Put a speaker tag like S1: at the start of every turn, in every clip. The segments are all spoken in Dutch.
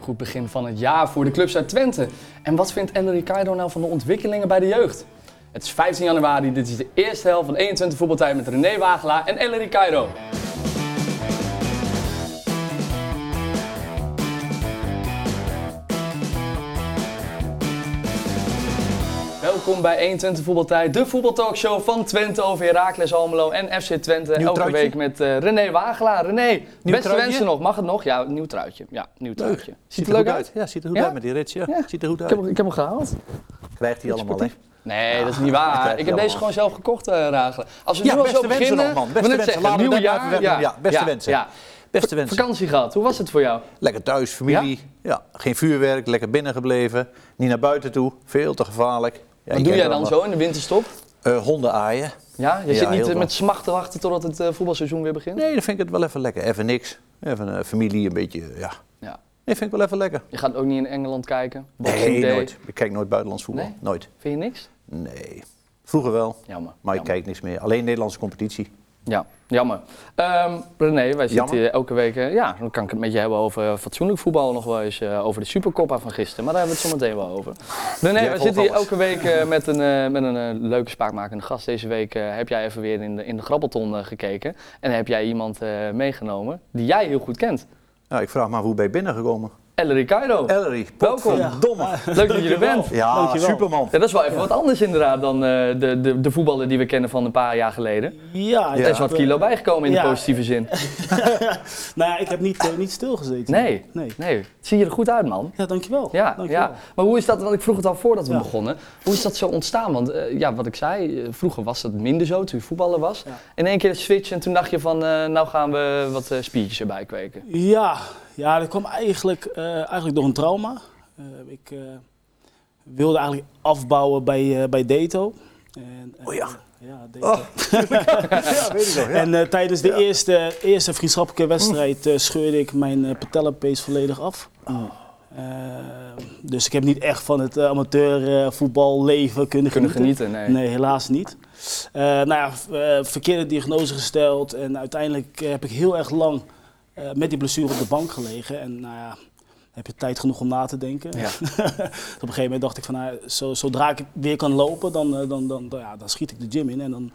S1: goed begin van het jaar voor de clubs uit Twente. En wat vindt Enrique Ricardo nou van de ontwikkelingen bij de jeugd? Het is 15 januari, dit is de eerste helft van 21 voetbaltijd met René Wagelaar en Enrique Ricardo. Welkom bij 21 Voetbaltijd, de voetbaltalkshow van Twente over Heracles Almelo en FC Twente.
S2: Nieuw
S1: Elke
S2: truitje?
S1: week met eh, René Wagelaar. René, beste
S2: truitje?
S1: wensen nog. Mag het nog? Ja, nieuw truitje. Ja, nieuw truitje. het
S2: Ziet er
S1: leuk
S2: goed
S1: uit?
S2: Ja, ziet er goed
S1: Ja?
S2: uit met die rits. Ja.
S1: Ja.
S2: Ziet er goed
S1: Ik
S2: uit.
S1: heb, hem- ik heb hem gehaald.
S2: Krijgt hij allemaal, hè?
S1: Nee, dat is niet
S2: dat
S1: waar.
S2: krijg
S1: Ik heb
S2: je
S1: deze
S2: allemaal.
S1: gewoon zelf gekocht, eh Ragelen. Als we
S2: Ah, Ja,
S1: nu al
S2: beste
S1: zo
S2: wensen
S1: beginnen...
S2: nog, man.
S1: ik
S2: Beste
S1: wil net
S2: wensen. Laten we
S1: nieuw
S2: dat maar
S1: jaar,
S2: even wegdoen. Ja, beste wensen.
S1: Ja.
S2: Beste wensen.
S1: Vakantie gehad, hoe was het voor jou?
S2: Lekker thuis, familie. Ja? geen vuurwerk, lekker binnen gebleven. Niet naar buiten toe, veel te gevaarlijk. Ja, je
S1: Wat
S2: kent
S1: doe jij
S2: het
S1: dan
S2: allemaal.
S1: zo in de winterstop?
S2: Eh, honden aaien.
S1: Ja, je
S2: Ja,
S1: zit niet
S2: heel
S1: eh, met
S2: veel.
S1: smacht te wachten totdat het eh, voetbalseizoen weer begint?
S2: Nee, dan vind ik het wel even lekker. Even niks. Even eh, familie, een beetje, eh, ja.
S1: Ja.
S2: Nee, vind ik wel even lekker.
S1: Je gaat ook niet in Engeland kijken? Boxing
S2: Nee,
S1: Day.
S2: nooit. Ik kijk nooit buitenlands voetbal.
S1: Nee?
S2: Nooit.
S1: Vind je niks?
S2: Nee. Vroeger wel,
S1: Jammer.
S2: maar ik
S1: jammer.
S2: kijk niks meer. Alleen Nederlandse competitie.
S1: Ja, jammer. Ehm, René, wij zitten
S2: Jammer.
S1: hier elke week... eh, ja, dan kan ik het met je hebben over eh, fatsoenlijk voetbal nog wel eens. eh, over de Supercoppa van gisteren, maar daar hebben we het zo meteen wel over. René,
S2: Jij
S1: wij
S2: volgt
S1: zitten hier
S2: alles.
S1: elke week eh, met een, eh, met een eh, leuke spraakmakende gast. Deze week eh, heb jij even weer in de, in de grabbelton eh, gekeken. En heb jij iemand eh, meegenomen die jij heel goed kent.
S2: Nou, ik vraag me af hoe ben je binnengekomen?
S1: Elle Ricardo.
S2: Ellery,
S1: Welkom.
S2: potverdomme.
S1: Leuk dat je er bent.
S2: Ja,
S3: Dankjewel.
S2: superman.
S1: Ja, dat is wel even wat anders inderdaad dan eh, de, de, de voetballer die we kennen van een paar jaar geleden.
S3: Ja,
S2: Ja.
S1: Er is wat kilo bijgekomen in de
S3: Ja.
S1: positieve zin.
S3: Nou ja, ik heb niet, eh, niet stilgezeten.
S1: Nee.
S3: nee.
S1: Nee, zie je er goed uit man.
S3: Ja, dankjewel.
S1: Ja,
S3: dankjewel.
S1: ja, maar hoe is dat, want ik vroeg het al voordat we
S3: Ja.
S1: begonnen, hoe is dat zo ontstaan? Want eh, ja, wat ik zei, eh, vroeger was dat minder zo toen je voetballer was.
S3: Ja.
S1: In één keer switch en toen dacht je van, eh, nou gaan we wat eh, spiertjes erbij kweken.
S3: Ja, ja dat kwam eigenlijk, eh, eigenlijk door een trauma. Eh, ik eh, wilde eigenlijk afbouwen bij, eh, bij Dato. En, eh,
S2: Oh ja.
S3: Ja, Dato.
S2: Oh, ja, weet ik nog. Ja.
S3: En eh, tijdens de
S2: Ja.
S3: eerste, eerste vriendschappelijke wedstrijd eh, scheurde ik mijn eh patellapees volledig af. Eh, dus ik heb niet echt van het amateurvoetballeven kunnen,
S1: Kunnen
S3: genieten.
S1: genieten, nee.
S3: Nee, helaas niet. Eh, nou ja, v- eh, verkeerde diagnose gesteld en uiteindelijk eh, heb ik heel erg lang eh, met die blessure op de bank gelegen. En nou ja, heb je tijd genoeg om na te denken.
S1: Ja.
S3: op een gegeven moment dacht ik van, nou, zo, zodra ik weer kan lopen, dan, eh, dan, dan, dan- ja, dan schiet ik de gym in en dan...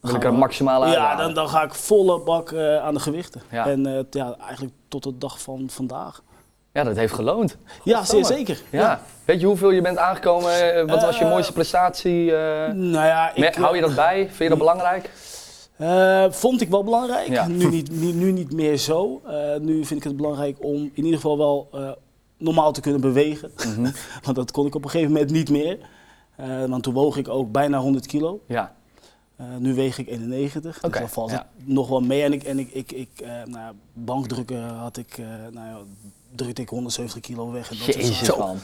S1: Wil ik er maximaal uit
S3: Ja,
S1: halen.
S3: dan, dan ga ik volle bak eh, aan de gewichten.
S1: Ja.
S3: En eh, t- ja, eigenlijk tot de dag van vandaag.
S1: ja, dat heeft geloond.
S3: Ja, zeer
S1: Godverdomme.
S3: zeker.
S1: Ja. Weet je hoeveel je bent aangekomen? Eh, Wat was je
S3: Eh,
S1: mooiste prestatie? eh,
S3: Nou ja, ik,
S1: mer- hou je dat bij? Vind je dat belangrijk?
S3: Eh, vond ik wel belangrijk.
S1: Ja.
S3: Nu, niet, nu, nu niet meer zo. Eh, nu vind ik het belangrijk om in ieder geval wel eh, normaal te kunnen bewegen.
S1: Mhm.
S3: want dat kon ik op een gegeven moment niet meer. Eh, want toen woog ik ook bijna 100 kilo.
S1: Ja.
S3: Eh, nu weeg ik 91.
S1: Oké,
S3: Dus dan valt
S1: ja.
S3: het nog wel mee. En ik, en ik, ik, ik eh, nou, ja, bankdrukken had ik, eh, nou ja, drukte ik 170 kilo weg. En dat soort
S1: Jezus
S3: zaken.
S1: man.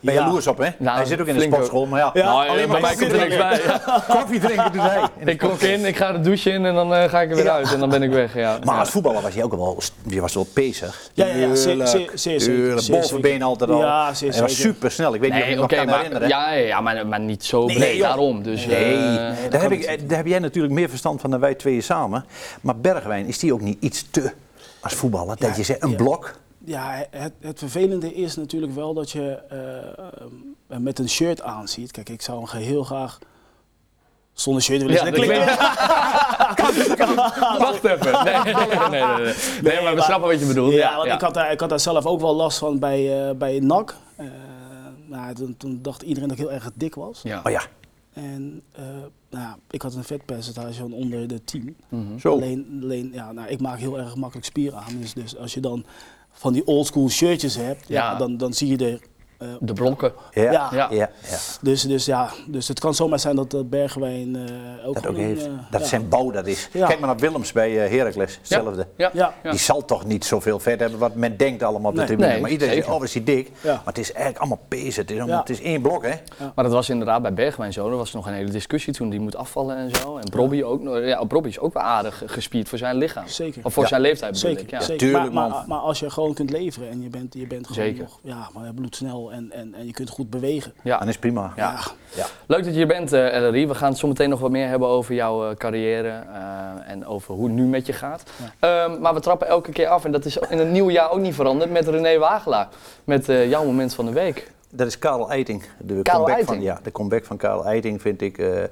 S2: Ben je jaloers op, hè?
S1: Nou,
S2: hij zit ook in de
S1: flink ook.
S2: sportschool, maar ja.
S3: Ja.
S1: Nou,
S2: alleen
S1: bij
S2: maar
S1: mij komt er niks
S2: koffiedrinken.
S1: bij. ja.
S2: Koffie drinken doet hij. In de
S1: Ik kom
S2: sportschool.
S1: in, ik ga de douche in en dan eh, ga ik er weer
S2: Ja.
S1: uit. En dan ben ik weg, ja.
S2: Maar
S1: Ja.
S2: als voetballer was je ook wel, je was wel pezig.
S3: Ja, ja, ja, zeer-
S2: Tuurlijk,
S3: zeer- zeer zeker,
S2: tuurlijk.
S3: zeer
S2: Bovenbeen
S3: zeker.
S2: altijd al.
S3: Ja, zeer
S2: Hij was
S3: zeker.
S2: super snel. Ik weet niet of je
S1: Nee,
S2: het
S1: oké,
S2: nog kan
S1: maar,
S2: herinneren.
S1: ja, ja, maar, maar niet zo
S2: Nee,
S1: breed
S2: joh.
S1: daarom. Dus,
S2: Nee,
S1: eh,
S2: daar, heb ik, eh, daar heb jij natuurlijk meer verstand van dan wij tweeën samen. Maar Bergwijn, is die ook niet iets te als voetballer?
S3: Ja,
S2: dat je zegt, een
S3: ja.
S2: blok.
S3: Ja, het, het vervelende is natuurlijk wel dat je eh, eh, met een shirt aanziet. Kijk, ik zou hem geheel graag zonder shirt willen
S1: Ja,
S3: zien.
S1: dat
S3: Dat klinkt-
S1: klinkt- dus Wacht even. Nee, nee, nee, nee, nee. nee. Nee, maar we
S3: maar-
S1: snappen wat je bedoelt.
S3: Ja,
S1: Ja,
S3: want
S1: ja.
S3: Ik, had daar, ik had daar zelf ook wel last van bij, eh, bij NAC. Eh, nou, toen, toen dacht iedereen dat ik heel erg dik was.
S1: Ja.
S2: Oh ja,
S3: En eh, nou, ja, ik had een vetpercentage van onder de 10.
S1: Mhm.
S2: zo.
S3: Alleen, alleen ja, nou, ik maak heel erg makkelijk spier aan. Dus, dus als je dan van die oldschool shirtjes hebt, ja.
S1: Ja.
S3: dan, dan zie je er... eh,
S1: De blokken.
S2: Ja,
S3: Ja.
S2: ja, ja.
S3: dus, dus ja, dus het kan zomaar zijn dat eh, Bergwijn eh, ook
S2: Dat ook
S3: gewoon,
S2: heeft.
S3: eh,
S2: Dat
S3: ja.
S2: zijn bouw dat is.
S3: Ja.
S2: Kijk maar naar Willems bij eh, Heracles, hetzelfde.
S1: Ja.
S3: Ja.
S1: ja.
S2: Die zal toch niet zoveel vet hebben wat men denkt allemaal op de
S3: Nee.
S2: tribune.
S1: Nee,
S2: maar iedereen zegt,
S1: zeker.
S2: oh, wat is die dik.
S3: Ja.
S2: Maar het is eigenlijk allemaal pezen. Het is, allemaal,
S3: Ja.
S2: het is één blok, hè?
S1: Maar dat was inderdaad bij Bergwijn zo. Er was nog een hele discussie toen die moet afvallen en zo. En Robbie ook. nog- Ja, Robbie is ook wel aardig gespierd voor zijn lichaam.
S3: Zeker.
S1: Of voor
S2: Ja.
S1: zijn leeftijd bedoel
S3: Zeker,
S1: ik. Ja.
S3: zeker.
S2: tuurlijk,
S3: maar, maar,
S2: man.
S3: maar als je gewoon kunt leveren en je bent, je bent gewoon
S1: Zeker.
S3: nog ja, maar bloedsnel snel en, en, en je kunt goed bewegen.
S2: Dan is prima.
S1: Ja.
S2: Ja.
S1: Leuk dat je hier bent, eh Ellery. We gaan het zo meteen nog wat meer hebben over jouw eh, carrière eh, en over hoe het nu met je gaat. Ehm, maar we trappen elke keer af en dat is in het nieuwe jaar ook niet veranderd met René Wagelaar. Met eh, jouw moment van de week.
S2: Dat is Karel Eiting.
S1: Karel
S2: De comeback Van,
S1: Eiting?
S2: ja, de comeback van Karel Eiting vind ik eh,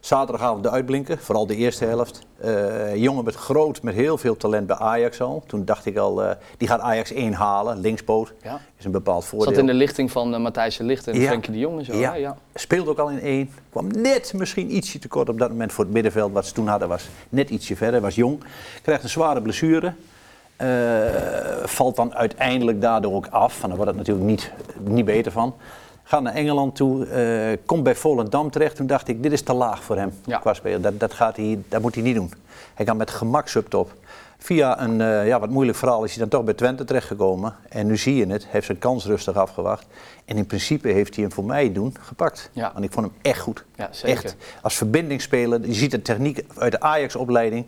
S2: zaterdagavond de uitblinker. Vooral de eerste helft. Eh, een jongen met groot, met heel veel talent bij Ajax al. Toen dacht ik al, eh, die gaat Ajax 1 halen. Linkspoot
S1: Ja.
S2: is een bepaald voordeel.
S1: Zat in de lichting van eh, Matthijs de Licht en
S2: Ja.
S1: Frenkie de Jong en zo. hè?
S2: Ja.
S1: ja.
S2: Speelde ook al in één. Kwam net misschien ietsje te kort op dat moment voor het middenveld. Wat ze toen hadden was net ietsje verder. Was jong. Krijgt een zware blessure. Eh, valt dan uiteindelijk daardoor ook af. Van, daar wordt het natuurlijk niet, niet beter van. Gaat naar Engeland toe. eh, komt bij Volendam terecht. Toen dacht ik, dit is te laag voor hem.
S1: Ja.
S2: Qua speler. Dat, dat, gaat hij, dat moet hij niet doen. Hij kan met gemak subtop. Via een eh, ja, wat moeilijk verhaal is hij dan toch bij Twente terechtgekomen. En nu zie je het. Hij heeft zijn kans rustig afgewacht. En in principe heeft hij hem voor mij doen gepakt.
S1: Ja.
S2: Want ik vond hem echt goed.
S1: Ja, zeker.
S2: Echt. Als verbindingsspeler. Je ziet de techniek uit de Ajax-opleiding.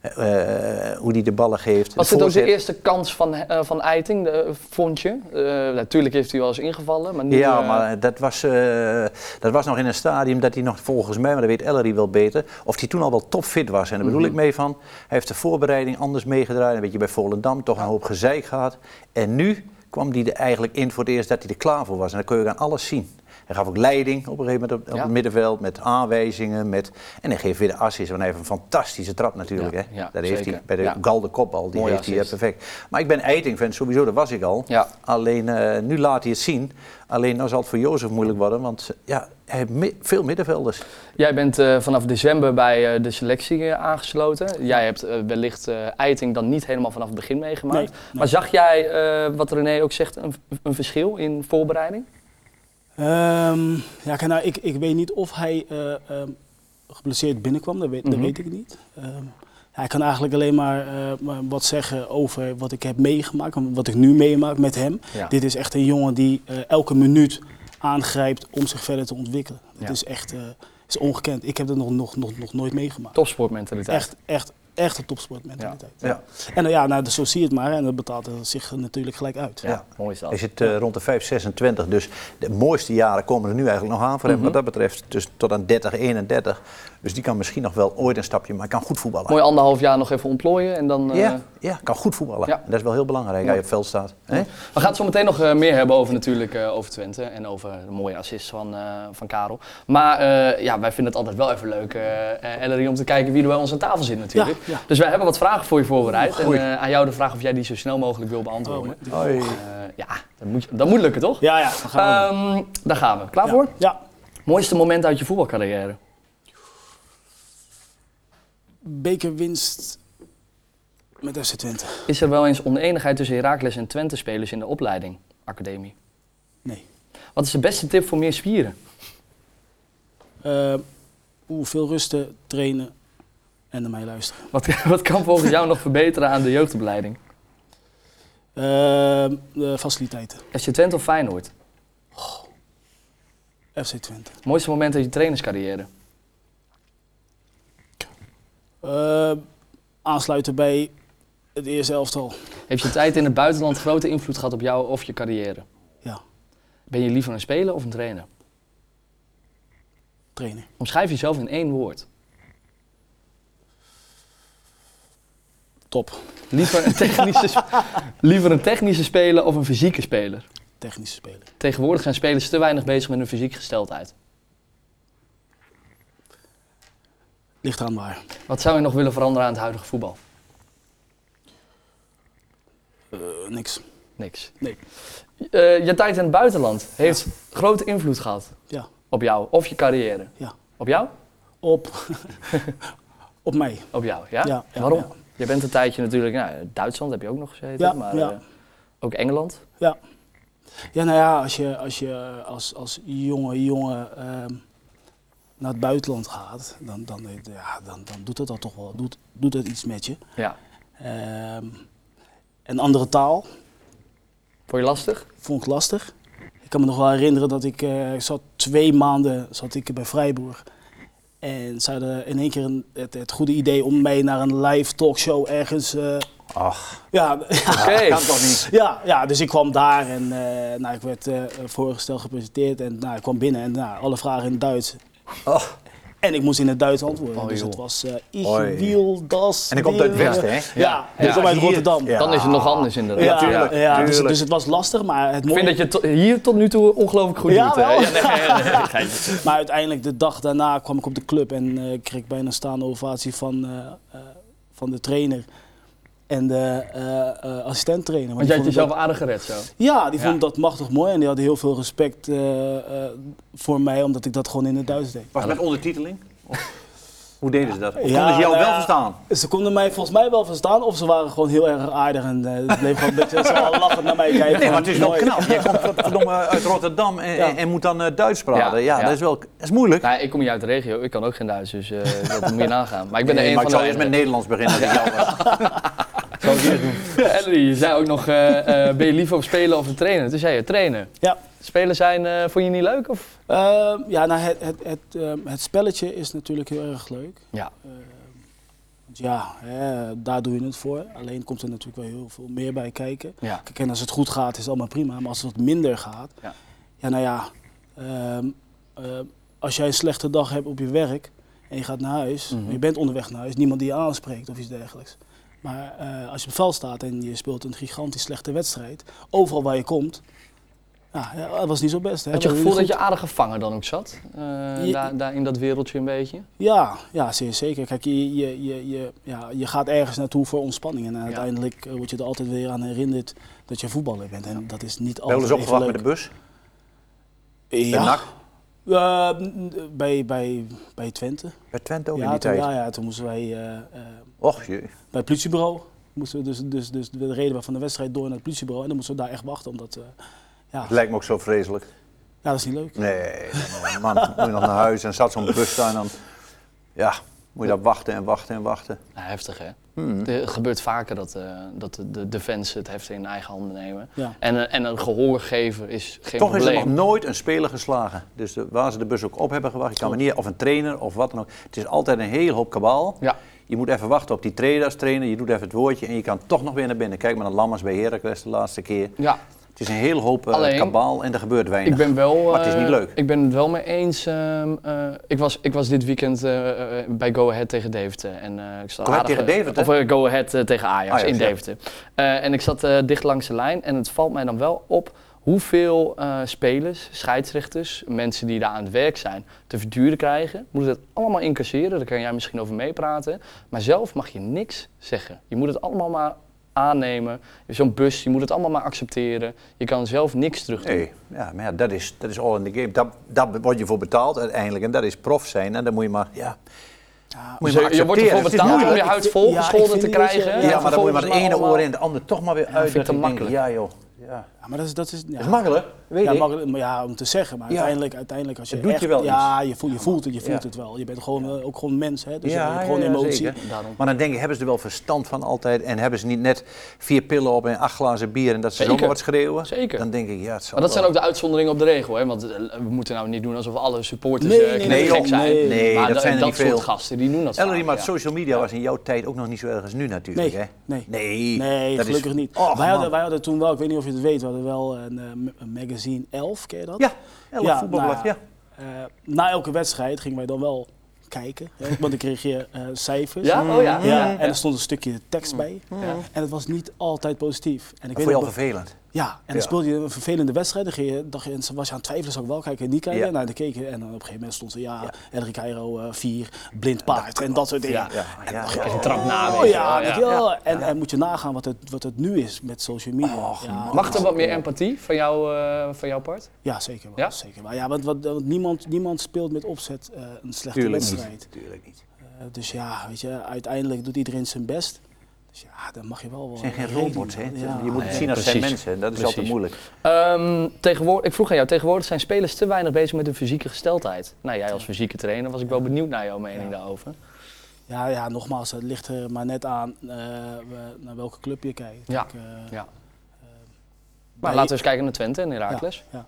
S2: eh, eh, hoe hij de ballen geeft.
S1: Was
S2: de
S1: dit ook de
S2: voorzet.
S1: eerste kans van, eh, van Eiting, de, vond je? Eh, natuurlijk heeft hij wel eens ingevallen, maar nu...
S2: Ja,
S1: eh,
S2: maar dat was, eh, dat was nog in een stadium dat hij nog volgens mij, maar dat weet Ellery wel beter, of hij toen al wel topfit was. En daar
S1: Mhm.
S2: bedoel ik mee van, hij heeft de voorbereiding anders meegedraaid, een beetje bij Volendam, toch een hoop gezeik gehad. En nu kwam hij er eigenlijk in voor het eerst dat hij er klaar voor was. En dat kun je aan alles zien. Hij gaf ook leiding op een gegeven moment op, op
S1: Ja.
S2: het middenveld, met aanwijzingen, met, en hij geeft weer de assist, want hij heeft een fantastische trap natuurlijk.
S1: Ja,
S2: hè?
S1: ja,
S2: dat heeft hij
S1: zeker.
S2: bij de
S1: Ja.
S2: Gal de kopbal, die
S1: Mooie
S2: heeft hij eh,
S1: assist.
S2: perfect. Maar ik ben Eiting-fan sowieso, dat was ik al.
S1: Ja.
S2: Alleen eh, nu laat hij het zien. Alleen nou zal het voor Jozef moeilijk worden, want eh, ja, hij heeft mi- veel middenvelders.
S1: Jij bent eh, vanaf december bij eh, de selectie eh, aangesloten. Jij hebt eh, wellicht eh, Eiting dan niet helemaal vanaf het begin meegemaakt.
S3: Nee, nee.
S1: Maar zag jij, eh, wat René ook zegt, een, een verschil in voorbereiding?
S3: Ehm, ja, kijk, nou, ik, ik weet niet of hij eh, ehm, geblesseerd binnenkwam, dat weet,
S1: Mhm.
S3: dat weet ik niet. Ehm, hij kan eigenlijk alleen maar eh, maar wat zeggen over wat ik heb meegemaakt, en wat ik nu meemaak met hem.
S1: Ja.
S3: Dit is echt een jongen die eh, elke minuut aangrijpt om zich verder te ontwikkelen. Dat
S1: Ja.
S3: is echt eh, is ongekend. Ik heb dat nog, nog, nog, nog nooit meegemaakt.
S1: Topsportmentaliteit.
S3: Echt, echt, echt een topsportmentaliteit.
S2: Ja.
S3: En nou, ja, nou, dus zo zie je het maar en dat betaalt zich natuurlijk gelijk uit.
S1: Ja, mooi is dat.
S2: Hij zit eh, rond de 5, 26, dus de mooiste jaren komen er nu eigenlijk nog aan
S1: Mhm.
S2: voor hem. Wat dat betreft, dus tot aan 30, 31. Dus die kan misschien nog wel ooit een stapje, maar hij kan goed voetballen.
S1: Mooi anderhalf jaar nog even ontplooien en dan... eh,
S2: Ja, ja, kan goed voetballen.
S1: Ja.
S2: Dat is wel heel belangrijk,
S1: Mooi.
S2: hij op het veld staat. Hè?
S1: We gaan het zo meteen nog eh, meer hebben over natuurlijk eh, over Twente en over de mooie assist van, eh, van Karel. Maar eh, ja, wij vinden het altijd wel even leuk, eh, eh, Ellery, om te kijken wie er bij ons aan tafel zit natuurlijk.
S3: Ja, ja.
S1: Dus wij hebben wat vragen voor je voorbereid. en
S2: Goeie.
S1: eh, aan jou de vraag of jij die zo snel mogelijk wil beantwoorden.
S3: Oh,
S2: Hoi.
S1: Eh, ja, dat moet, je- dat moet lukken toch?
S3: ja, ja, dan gaan we.
S1: Ehm, daar gaan we. Klaar
S3: Ja.
S1: voor?
S3: Ja.
S1: Mooiste moment uit je voetbalcarrière?
S3: bekerwinst met FC Twente.
S1: Is er wel eens oneenigheid tussen Heracles en Twente-spelers in de opleiding, academie?
S3: Nee.
S1: Wat is de beste tip voor meer spieren?
S3: Eh, Oeh, veel rusten, trainen en naar mij luisteren.
S1: Wat, wat kan volgens jou nog verbeteren aan de jeugdopleiding?
S3: Eh, de faciliteiten.
S1: FC Twente of Feyenoord?
S3: FC Twente.
S1: Mooiste moment uit je trainerscarrière?
S3: Eh, aansluiten bij het eerste elftal.
S1: Heeft je tijd in het buitenland grote invloed gehad op jou of je carrière?
S3: Ja,
S1: Ben je liever een speler of een trainer?
S3: trainen.
S1: Omschrijf jezelf in één woord.
S3: Top.
S1: Liever een technische, sp- liever een technische speler of een fysieke speler?
S3: Technische speler.
S1: Tegenwoordig zijn spelers te weinig bezig met hun fysieke gesteldheid.
S3: Ligt aan waar.
S1: Wat zou je nog willen veranderen aan het huidige voetbal?
S3: Eh, niks.
S1: Niks.
S3: Nee.
S1: Eh, je tijd in het buitenland heeft grote invloed gehad
S3: Ja,
S1: op jou of je carrière.
S3: ja.
S1: Op jou?
S3: Op, op mij.
S1: Op jou, ja?
S3: Ja, ja,
S1: Waarom?
S3: ja.
S1: Je bent een tijdje natuurlijk, nou, Duitsland heb je ook nog gezeten,
S3: Ja,
S1: maar
S3: ja.
S1: eh, ook Engeland.
S3: Ja. Ja, nou ja, als je als, je als, als jonge jongen ehm, naar het buitenland gaat, dan, dan, eh, ja, dan, dan doet dat dan toch wel doet, doet dat iets met je.
S1: Ja.
S3: Ehm, een andere taal
S1: Vond je lastig?
S3: vond ik lastig. Ik kan me nog wel herinneren dat ik eh, ik zat twee maanden zat ik bij Vrijburg. En ze hadden in één keer een- het, het goede idee om mij naar een live talkshow ergens eh,
S2: Ach,
S3: Ja,
S1: Oké.
S2: kan toch niet?
S3: ja, ja, dus ik kwam daar en eh, nou, ik werd eh, voorgesteld, gepresenteerd. En nou, ik kwam binnen en nou, alle vragen in het Duits.
S2: Ach.
S3: En ik moest in het Duits antwoorden.
S1: Oh,
S3: dus het
S1: joh.
S3: was eh ich
S2: Hoi.
S3: wil das.
S2: En ik komt uit het
S3: weer.
S2: Westen, hè?
S3: Ja, en ik kom uit
S2: hier-
S3: Rotterdam.
S2: ja.
S1: Dan is het nog anders inderdaad.
S3: Ja,
S2: tuurlijk,
S3: ja, dus- Dus,
S2: tuurlijk.
S3: het was lastig, maar
S1: Ik
S3: het mooie...
S1: vind dat je to- hier tot nu toe ongelooflijk goed
S3: Ja,
S1: doet. hè?
S3: wel.
S1: Ja, nee, nee, nee, geintje.
S3: Maar uiteindelijk, de dag daarna kwam ik op de club en eh, kreeg ik bijna een staande ovatie van, eh, eh, van de trainer en de assistent assistent-trainer.
S1: Want
S3: die
S1: jij hebt
S3: vonden
S1: jezelf aardig gered zo.
S3: dat- Ja, die
S1: Ja.
S3: vonden dat machtig mooi en die hadden heel veel respect eh, eh, voor mij, omdat ik dat gewoon in het Duits deed.
S2: Was het met ondertiteling? Of- Hoe deden ze dat? Of
S3: Ja,
S2: konden ze jou
S3: nou
S2: wel
S3: ja.
S2: verstaan?
S3: Ze konden mij volgens mij wel verstaan of ze waren gewoon heel erg aardig en eh, het bleef gewoon een beetje zo al lachend naar mij kijken.
S2: Nee, maar het is wel
S3: Mooi.
S2: knap. Jij komt verdomme uit Rotterdam en,
S3: Ja.
S2: en moet dan eh, Duits praten. Ja,
S1: Ja, ja.
S2: dat is wel dat is moeilijk.
S1: Nou, ik kom niet uit de regio, ik kan ook geen Duits, dus eh, dat moet je nagaan. Maar ik ben
S2: Nee,
S1: er
S2: maar
S1: een van
S2: ik zou
S1: de
S2: eerst met Nederlands beginnen als ik jou was. Zou ik eerst doen.
S1: Ellery, je zei ook nog, eh, eh, ben je liever op spelen of een trainen? Toen zei je trainen.
S3: Ja.
S1: Spelen zijn, eh, vond je niet leuk? Of?
S3: Ehm, ja, nou, het, het, het, ehm, het spelletje is natuurlijk heel erg leuk.
S1: Ja.
S3: Ehm, want ja, hè, daar doe je het voor. Alleen komt er natuurlijk wel heel veel meer bij kijken.
S1: Ja.
S3: Kijk, en als het goed gaat, is het allemaal prima. Maar als het wat minder gaat,
S1: Ja.
S3: ja, nou ja, ehm, ehm, als jij een slechte dag hebt op je werk en je gaat naar huis,
S1: Mhm.
S3: je bent onderweg naar huis, niemand die je aanspreekt of iets dergelijks. Maar eh, als je op het veld staat en je speelt een gigantisch slechte wedstrijd, overal waar je komt, ja, ja, dat was niet zo best. Hè?
S1: Had je
S3: We
S1: het gevoel
S3: deden
S1: dat
S3: goed.
S1: je aardig gevangen dan ook zat? Eh,
S3: Je-
S1: daar, daar in dat wereldje een beetje?
S3: Ja, ja, zeer zeker. Kijk, je, je, je, je, ja, je gaat ergens naartoe voor ontspanning. En uiteindelijk eh, word je er altijd weer aan herinnerd dat je voetballer bent. En dat is
S2: Ben
S3: niet
S2: je wel
S3: altijd
S2: eens opgewacht
S3: even
S2: met de
S3: leuk.
S2: bus? Bij
S3: Ja,
S2: NAC?
S3: Eh, n- n- bij, bij, bij Twente.
S2: Bij Twente ook in
S3: ja,
S2: die
S3: toen,
S2: tijd.
S3: ja, ja, toen moesten wij eh, eh,
S2: Och jee.
S3: bij het politiebureau. Moesten we dus, dus, dus de reden we van de wedstrijd door naar het politiebureau. En dan moesten we daar echt wachten, omdat... eh, ja,
S2: Het lijkt me ook zo vreselijk.
S3: ja, dat is niet leuk.
S2: Nee, man, moet je nog naar huis en zat zo'n bus daar en dan... Ja, moet je daar wachten en wachten en wachten.
S1: Nou, heftig hè?
S2: Hmm.
S1: Het gebeurt vaker dat, eh, dat de, de, de fans het heft in eigen handen nemen.
S3: Ja.
S1: En, eh, en een gehoor geven is geen
S2: Toch is er
S1: probleem.
S2: nog nooit een speler geslagen. Dus de- waar ze de bus ook op hebben gewacht, je kan maar niet, of een trainer of wat dan ook. Het is altijd een hele hoop kabaal.
S1: Ja.
S2: Je moet even wachten op die trainer als trainer. Je doet even het woordje en je kan toch nog weer naar binnen. Kijk maar naar Lammers bij Heracles de laatste keer.
S1: ja,
S2: Het is een hele hoop eh,
S1: Alleen-
S2: kabaal en er gebeurt weinig.
S1: ik ben wel.
S2: Maar het is
S1: eh,
S2: niet leuk.
S1: Ik ben het wel mee eens. ehm, eh, ik, was, ik was dit weekend eh, eh, bij Go Ahead tegen Deventer. En, eh, ik zat
S2: Go Ahead
S1: aardig-
S2: tegen Deventer?
S1: Of eh, Go Ahead eh, tegen Ajax,
S2: Ajax,
S1: in
S2: ja.
S1: Deventer. Eh, en ik zat eh, dicht langs de lijn. En het valt mij dan wel op hoeveel eh, spelers, scheidsrechters, mensen die daar aan het werk zijn, te verduren krijgen. Moeten het allemaal incasseren. Daar kan jij misschien over meepraten. Maar zelf mag je niks zeggen. Je moet het allemaal maar aannemen. Zo'n bus, je moet het allemaal maar accepteren. Je kan zelf niks terug doen.
S2: Nee, ja, maar ja, dat, is, dat is all in the game. Daar dat word je voor betaald uiteindelijk. En dat is prof zijn. En dan moet je maar... Ja, moet
S1: Dus je, je wordt ervoor
S2: accepteren. Het is
S1: betaald om je
S2: moeilijk.
S1: huid
S3: Ik-
S1: vol
S3: ja, ik
S1: gescholden
S3: vind
S1: te
S3: niet dat je-
S1: krijgen.
S3: Ja,
S1: en
S2: Ja, maar dan moet je maar
S1: vervolgens
S2: het ene
S1: allemaal-
S2: oor in het andere toch maar weer uit.
S1: vind ik te
S2: Dat denk,
S1: makkelijk.
S2: Ja, joh. Ja.
S3: Ja, maar dat is... Dat is, ja.
S2: Dat is makkelijk, weet
S3: Ja,
S2: ik.
S3: makkelijk, maar ja, om te zeggen, maar
S2: Ja.
S3: uiteindelijk, uiteindelijk als je
S2: Het doet je
S3: echt,
S2: wel
S3: ja, je voelt, je voelt het, je voelt
S2: Ja.
S3: het wel. Je bent gewoon eh, ook gewoon mens, hè? Dus
S2: Ja,
S3: je hebt gewoon
S2: ja, ja,
S3: emotie.
S2: zeker.
S1: Daarom.
S2: Maar dan denk ik, hebben ze er wel verstand van altijd? En hebben ze niet net vier pillen op en acht glazen bier en dat ze
S1: Zeker.
S2: zomaar wat schreeuwen?
S1: Zeker.
S2: Dan denk ik, ja, het zal
S1: Maar dat
S2: wel.
S1: zijn ook de uitzonderingen op de regel, hè? Want eh, we moeten nou niet doen alsof alle supporters
S3: Nee,
S1: eh,
S3: nee, nee,
S1: knettergek
S2: joh,
S1: zijn.
S3: nee.
S2: Nee,
S1: maar
S2: dat
S1: da-
S2: zijn er
S1: dat
S2: niet
S1: soort
S2: veel.
S1: gasten die doen dat.
S2: Ellery,
S1: vaak,
S2: maar
S1: ja.
S2: social media was in jouw tijd ook nog niet zo erg als nu natuurlijk,
S3: Nee,
S2: hè?
S3: nee.
S2: Nee,
S3: Nee,
S2: dat is-
S3: gelukkig niet.
S2: Och,
S3: wij, hadden,
S2: man.
S3: wij hadden toen wel, ik weet niet of je het weet, we hadden wel een, eh, ma- een magazine 11, ken je dat?
S2: Ja, elk
S3: Ja,
S2: voetbalblad,
S3: nou
S2: ja.
S3: ja. Eh, na elke wedstrijd gingen wij dan wel kijken, hè, want dan kreeg je eh, cijfers.
S1: Ja, oh ja.
S3: Ja,
S1: ja.
S3: en er stond een stukje tekst bij. En het was niet altijd positief. En ik
S2: Dat vond je al
S3: nog-
S2: vervelend.
S3: Ja, en dan
S2: Ja.
S3: speelde je een vervelende wedstrijd. Dan ging je, dacht je, en ze was je aan het twijfelen, zou ik wel kijken en niet kijken?
S2: Ja.
S3: Nou, dan keek je en dan op een gegeven moment stond er, ja, Henry Cairo 4, blind paard en dat soort dingen.
S1: Ja.
S2: Ja, ja, ja.
S1: Een trap na,
S3: Oh
S1: weet je wel,
S3: ja,
S1: ja.
S3: weet je wel. En, en moet je nagaan wat het, wat het nu is met social media.
S2: Och,
S3: ja,
S1: Mag er wat meer empathie van, jou, eh, van jouw part?
S3: ja, zeker wel.
S1: Ja?
S3: Zeker wel. Ja, want, want, want niemand, niemand speelt met opzet eh, een slechte
S2: Tuurlijk
S3: wedstrijd.
S2: niet. Tuurlijk niet.
S3: Eh, dus ja, weet je, uiteindelijk doet iedereen zijn best. Dus ja, dan mag je wel...
S2: Het zijn geen robots, hè? Je moet het
S3: eh,
S1: Nee,
S2: zien als zijn
S1: precies.
S2: mensen. en Dat is
S1: Precies.
S2: altijd moeilijk.
S1: Ehm, tegenwoordig, ik vroeg aan jou, tegenwoordig zijn spelers te weinig bezig met hun fysieke gesteldheid. Nou, jij als fysieke trainer was ik wel benieuwd naar jouw mening
S3: Ja.
S1: daarover.
S3: Ja, ja, nogmaals, het ligt er maar net aan eh, we- naar welke club je kijkt.
S1: Ja,
S3: Ik, eh,
S1: ja.
S3: maar
S1: Maar laten we eens kijken naar Twente en
S3: ja,
S1: Herakles.
S3: Ja,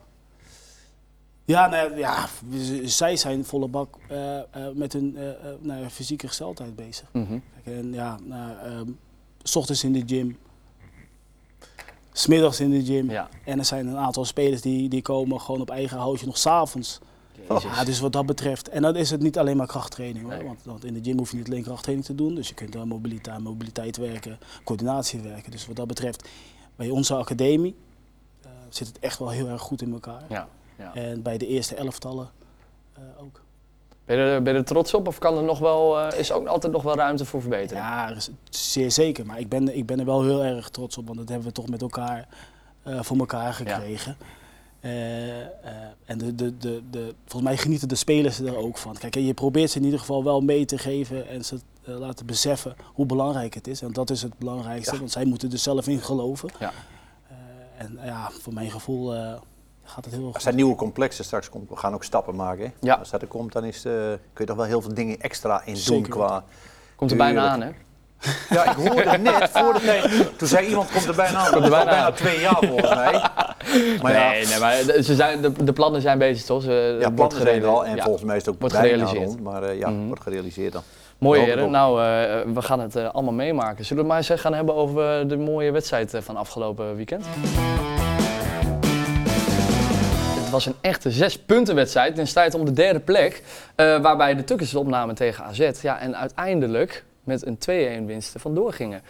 S3: ja. nou ja, ja, z- zij zijn volle bak eh, eh, met hun eh, eh, nou ja, fysieke gesteldheid bezig.
S1: Mhm.
S3: Kijk, en ja, nou, ehm, S ochtends in de gym. Smiddags in de gym.
S1: Ja.
S3: En er zijn een aantal spelers die, die komen gewoon op eigen houtje nog s'avonds.
S2: Oh,
S3: Ja, dus wat dat betreft. En dan is het niet alleen maar krachttraining hoor.
S1: Oh. Nee.
S3: Want, want in de gym hoef je niet alleen krachttraining te doen. Dus je kunt aan mobiliteit, aan mobiliteit werken, coördinatie werken. Dus wat dat betreft, bij onze academie eh, zit het echt wel heel erg goed in elkaar.
S1: Ja, ja.
S3: En bij de eerste elftallen eh, ook.
S1: Ben, je er, ben je er trots op of kan er nog wel, eh, is er ook altijd nog wel ruimte voor verbetering?
S3: Ja, er is- zeer zeker. Maar ik ben, ik ben er wel heel erg trots op, want dat hebben we toch met elkaar eh, voor elkaar gekregen. Eh, eh, en de, de, de, de, volgens mij genieten de spelers er ook van. Kijk, en je probeert ze in ieder geval wel mee te geven en ze eh, laten beseffen hoe belangrijk het is. En dat is het belangrijkste, want zij moeten er zelf in geloven.
S1: Ja.
S3: Eh, en ja, voor mijn gevoel eh, gaat het heel erg
S2: Als
S3: goed.
S2: dat nieuwe complexen straks komt, we gaan ook stappen maken. hè?
S1: Ja.
S2: Als dat er komt, dan is, eh, kun je toch wel heel veel dingen extra in doen
S3: Zeker.
S2: qua...
S1: Komt er bijna aan,
S2: Tuurlijk.
S1: hè?
S2: Ja, ik hoorde het net, voor de, nee, toen zei iemand, komt er bijna aan. Dat is al
S1: bijna
S2: bijna
S1: aan.
S2: twee jaar volgens mij. Maar ja,
S1: Nee, nee, maar de- ze zijn, de, de plannen zijn bezig, toch? Ze,
S2: ja,
S1: wordt
S2: plannen zijn er
S1: gerealiseerd.
S2: al en
S1: Ja.
S2: volgens mij is het ook
S1: Wordt
S2: bijna
S1: gerealiseerd.
S2: rond. Maar eh, ja,
S1: Mhm.
S2: wordt gerealiseerd dan.
S1: Mooi
S2: Hoop ik
S1: heren,
S2: ook.
S1: nou eh, we gaan het eh, allemaal meemaken. Zullen we het maar eens eh, gaan hebben over eh, de mooie wedstrijd eh, van afgelopen weekend? Het was een echte zespuntenwedstrijd in strijd om de derde plek. eh, waarbij de Tukkers het opnamen tegen AZ. Ja, en uiteindelijk met een 2-1 winst er vandoor gingen.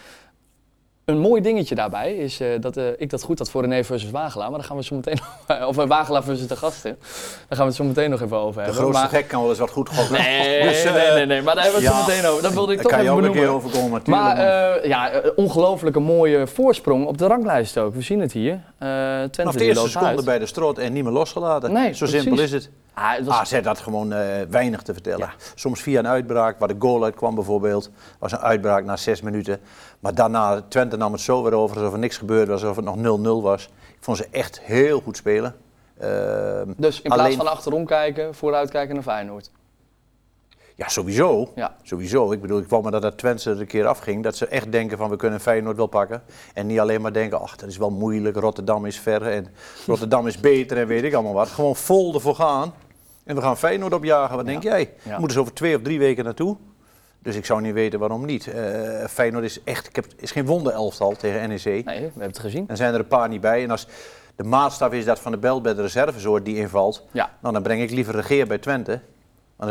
S1: Een mooi dingetje daarbij is eh, dat eh, ik dat goed had voor René versus Wagelaar. Maar daar gaan we zo meteen... of eh, Wagelaar versus de gasten. Daar gaan we het zo meteen nog even over
S2: De
S1: hebben.
S2: grootste
S1: Maar-
S2: gek kan wel eens wat goed gokken.
S1: Nee,
S2: Dus, eh,
S1: nee, nee, nee, maar daar hebben we het
S2: ja,
S1: zo meteen over. Dat wilde ik
S2: Daar
S1: toch
S2: kan je
S1: even
S2: ook een
S1: benoemen.
S2: keer overkomen natuurlijk.
S1: Maar
S2: man.
S1: eh, ja, eh, ongelooflijke mooie voorsprong op de ranglijst ook. We zien het hier. Eh Twente
S2: Vanaf de
S1: die
S2: eerste
S1: loopt
S2: seconde
S1: uit.
S2: bij de strot en niet meer losgelaten.
S1: Nee,
S2: Zo
S1: precies.
S2: simpel is het.
S1: Ah, het was-
S2: AZ had gewoon eh, weinig te vertellen. Soms via een uitbraak, waar de goal uit kwam bijvoorbeeld. was een uitbraak na zes minuten. Maar daarna, Twente nam het zo weer over alsof er niks gebeurd was, alsof het nog 0-0 was. Ik vond ze echt heel goed spelen. Ehm,
S1: dus in plaats
S2: alleen-
S1: van achterom kijken, vooruit kijken naar Feyenoord.
S2: Ja, sowieso.
S1: Ja.
S2: Sowieso. Ik bedoel, ik wou maar dat dat Twente er een keer afging. Dat ze echt denken van, we kunnen Feyenoord wel pakken. En niet alleen maar denken, ach, dat is wel moeilijk. Rotterdam is ver en Rotterdam is beter en weet ik allemaal wat. Gewoon vol ervoor gaan. En we gaan Feyenoord opjagen. Wat denk jij?
S1: Ja.
S2: Moeten ze over twee of drie weken naartoe? Dus ik zou niet weten waarom niet. Eh, Feyenoord is echt, ik heb, is geen wonderelftal tegen NEC.
S1: Nee, we hebben het gezien.
S2: Dan zijn er een paar niet bij. En als de maatstaf is dat van de bel bij de reservesoort die invalt,
S1: Ja.
S2: nou, dan breng ik liever regeer bij Twente. Want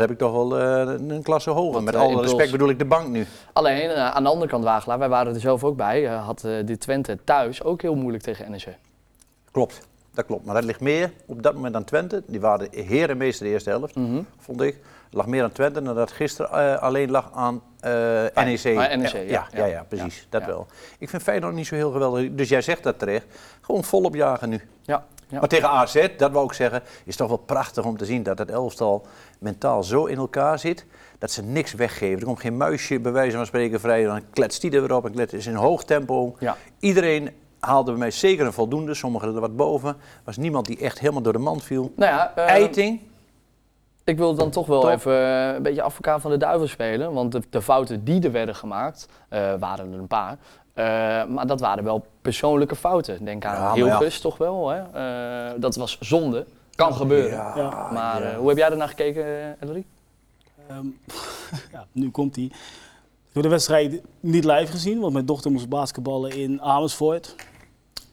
S2: Dan heb ik toch wel eh, een een klasse hoger.
S1: Wat,
S2: Met
S1: eh,
S2: alle
S1: impuls.
S2: respect bedoel ik de bank nu.
S1: Alleen eh, aan de andere kant, Wagelaar, wij waren er zelf ook bij, eh, had eh dit Twente thuis ook heel moeilijk tegen E NEC.
S2: Klopt, dat klopt. Maar dat ligt meer op dat moment aan Twente. Die waren heer en meester de eerste helft,
S1: Mhm.
S2: vond ik. Het lag meer aan Twente dan dat het gisteren eh, alleen lag aan eh, NEC.
S1: Ah, NEC,
S2: Eh,
S1: ja.
S2: ja, ja,
S1: Ja.
S2: precies. Dat
S1: Ja.
S2: wel. Ik vind Feyenoord niet zo heel geweldig. Dus jij zegt dat terecht. Gewoon volop jagen nu.
S1: Ja, ja.
S2: Maar tegen AZ, dat wou ik zeggen, is toch wel prachtig om te zien dat het elftal mentaal zo in elkaar zit dat ze niks weggeven. Er komt geen muisje bij wijze van spreken vrij, dan kletst die er weer op en kletst is in hoog tempo.
S1: Ja.
S2: Iedereen haalde bij mij zeker een voldoende, sommigen er wat boven. was niemand die echt helemaal door de mand viel.
S1: Nou ja, eh,
S2: Eiting,
S1: Ik wil dan toch wel
S2: Top.
S1: even eh, een beetje advocaat van de duivel spelen. Want de, de fouten die er werden gemaakt, eh, waren er een paar. Eh, maar dat waren wel persoonlijke fouten. Denk aan
S2: Ja, maar
S1: Hilgers toch wel. Hè? Eh, dat was zonde. Kan gebeuren.
S3: Ja.
S1: Maar
S2: ja.
S1: eh, hoe heb jij ernaar gekeken, eh, Ellery?
S3: Ehm, ja, nu komt hij. Ik heb de wedstrijd niet live gezien, want mijn dochter moest basketballen in Amersfoort.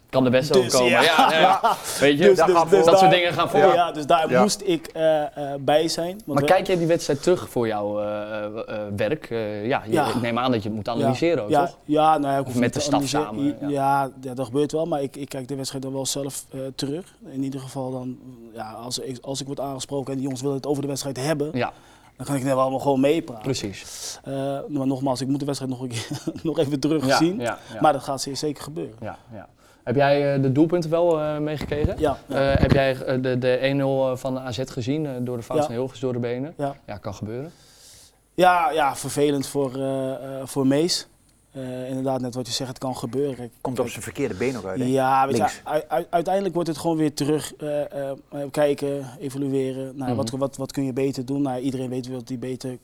S1: Kan de beste
S3: Dus,
S1: overkomen. Ja.
S3: ja.
S1: ja, Weet je,
S3: Dus-
S1: dat,
S2: dus-
S1: gaat
S2: dus
S1: dat soort
S3: daar-
S1: dingen gaan voor.
S3: Ja. dus daar
S2: Ja.
S3: moest ik eh, eh, bij zijn. want
S1: Maar
S3: we-
S1: kijk jij die wedstrijd terug voor jouw eh, eh, eh, werk? Eh, ja, je-
S3: Ja.
S1: ik neem aan dat je het moet analyseren, ook,
S3: ja,
S1: toch?
S3: Ja, nou ja, ik
S1: Of
S3: hoef
S1: met
S3: niet
S1: de
S3: te
S1: staf
S3: analyseren.
S1: samen,
S3: Ja, ja, dat gebeurt wel, maar ik, ik kijk de wedstrijd dan wel zelf eh, terug. In ieder geval dan, ja, als, ik, als ik word aangesproken en die jongens willen het over de wedstrijd hebben,
S1: Ja,
S3: dan kan ik net wel allemaal gewoon meepraten.
S1: precies.
S3: Eh, maar nogmaals, ik moet de wedstrijd nog, een keer, nog even
S1: Ja,
S3: terugzien.
S1: ja, ja.
S3: Maar dat gaat zeer zeker gebeuren.
S1: Ja, ja. Heb jij eh, de doelpunten wel eh, meegekregen?
S3: Ja,
S1: Eh, heb jij eh, de, de 1-0 van AZ gezien eh, door de fout
S3: Ja.
S1: van Hilgers door de benen?
S3: ja.
S1: Ja, kan gebeuren.
S3: Ja, ja vervelend voor, eh, eh, voor Mees. Eh, inderdaad, net wat je zegt, het kan gebeuren. Kijk,
S2: komt op zijn verkeerde been ook uit. hè?
S3: Ja, weet je,
S2: Links.
S3: u- u- uiteindelijk wordt het gewoon weer terug eh, eh, kijken, evalueren. Nou,
S1: Mhm.
S3: wat, wat, wat kun je beter doen? Nou, iedereen weet wat hij beter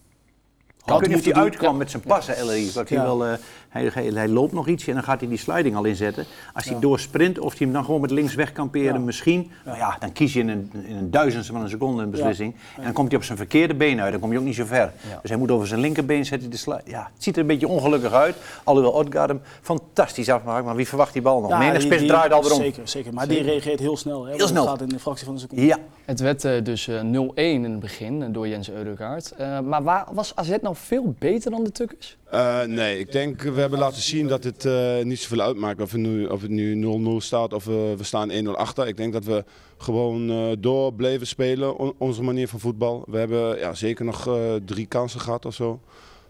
S2: Ik weet niet
S3: moeten
S2: of hij
S3: doen.
S2: uitkwam met zijn passen, Ellery. Wat hij
S3: Ja.
S2: wel, eh, Hij, hij, hij loopt nog ietsje en dan gaat hij die sliding al inzetten. Als hij doorsprint of hij hem dan gewoon met links weg kan peren,
S3: Ja.
S2: misschien. Maar ja, dan kies je in een, in een duizendste van een seconde een beslissing. En dan komt hij op zijn verkeerde been uit, dan kom je ook niet zo ver.
S1: Ja.
S2: Dus hij moet over zijn linkerbeen zetten de slide. Ja, het ziet er een beetje ongelukkig uit. Alhoewel Odgaard hem fantastisch afmaakt, maar wie verwacht die bal nog?
S3: Ja,
S2: Menig
S3: die-
S2: spits
S3: die-
S2: draait al weer om.
S3: Zeker, zeker. Maar die reageert heel snel. Hè? Want
S2: snel.
S3: Het gaat in een fractie van een seconde.
S2: Ja,
S1: Het werd eh, dus eh, 0-1 in het begin eh, door Jens Eudegaard. Eh, maar waar, was AZ nou veel beter dan de Tukkers?
S4: Eh, nee, ik denk we hebben laten zien dat het eh, niet zoveel uitmaakt of het nu, of het nu 0-0 staat of eh, we staan 1-0 achter. Ik denk dat we gewoon eh, door bleven spelen, on- onze manier van voetbal. We hebben ja, zeker nog eh, drie kansen gehad of zo.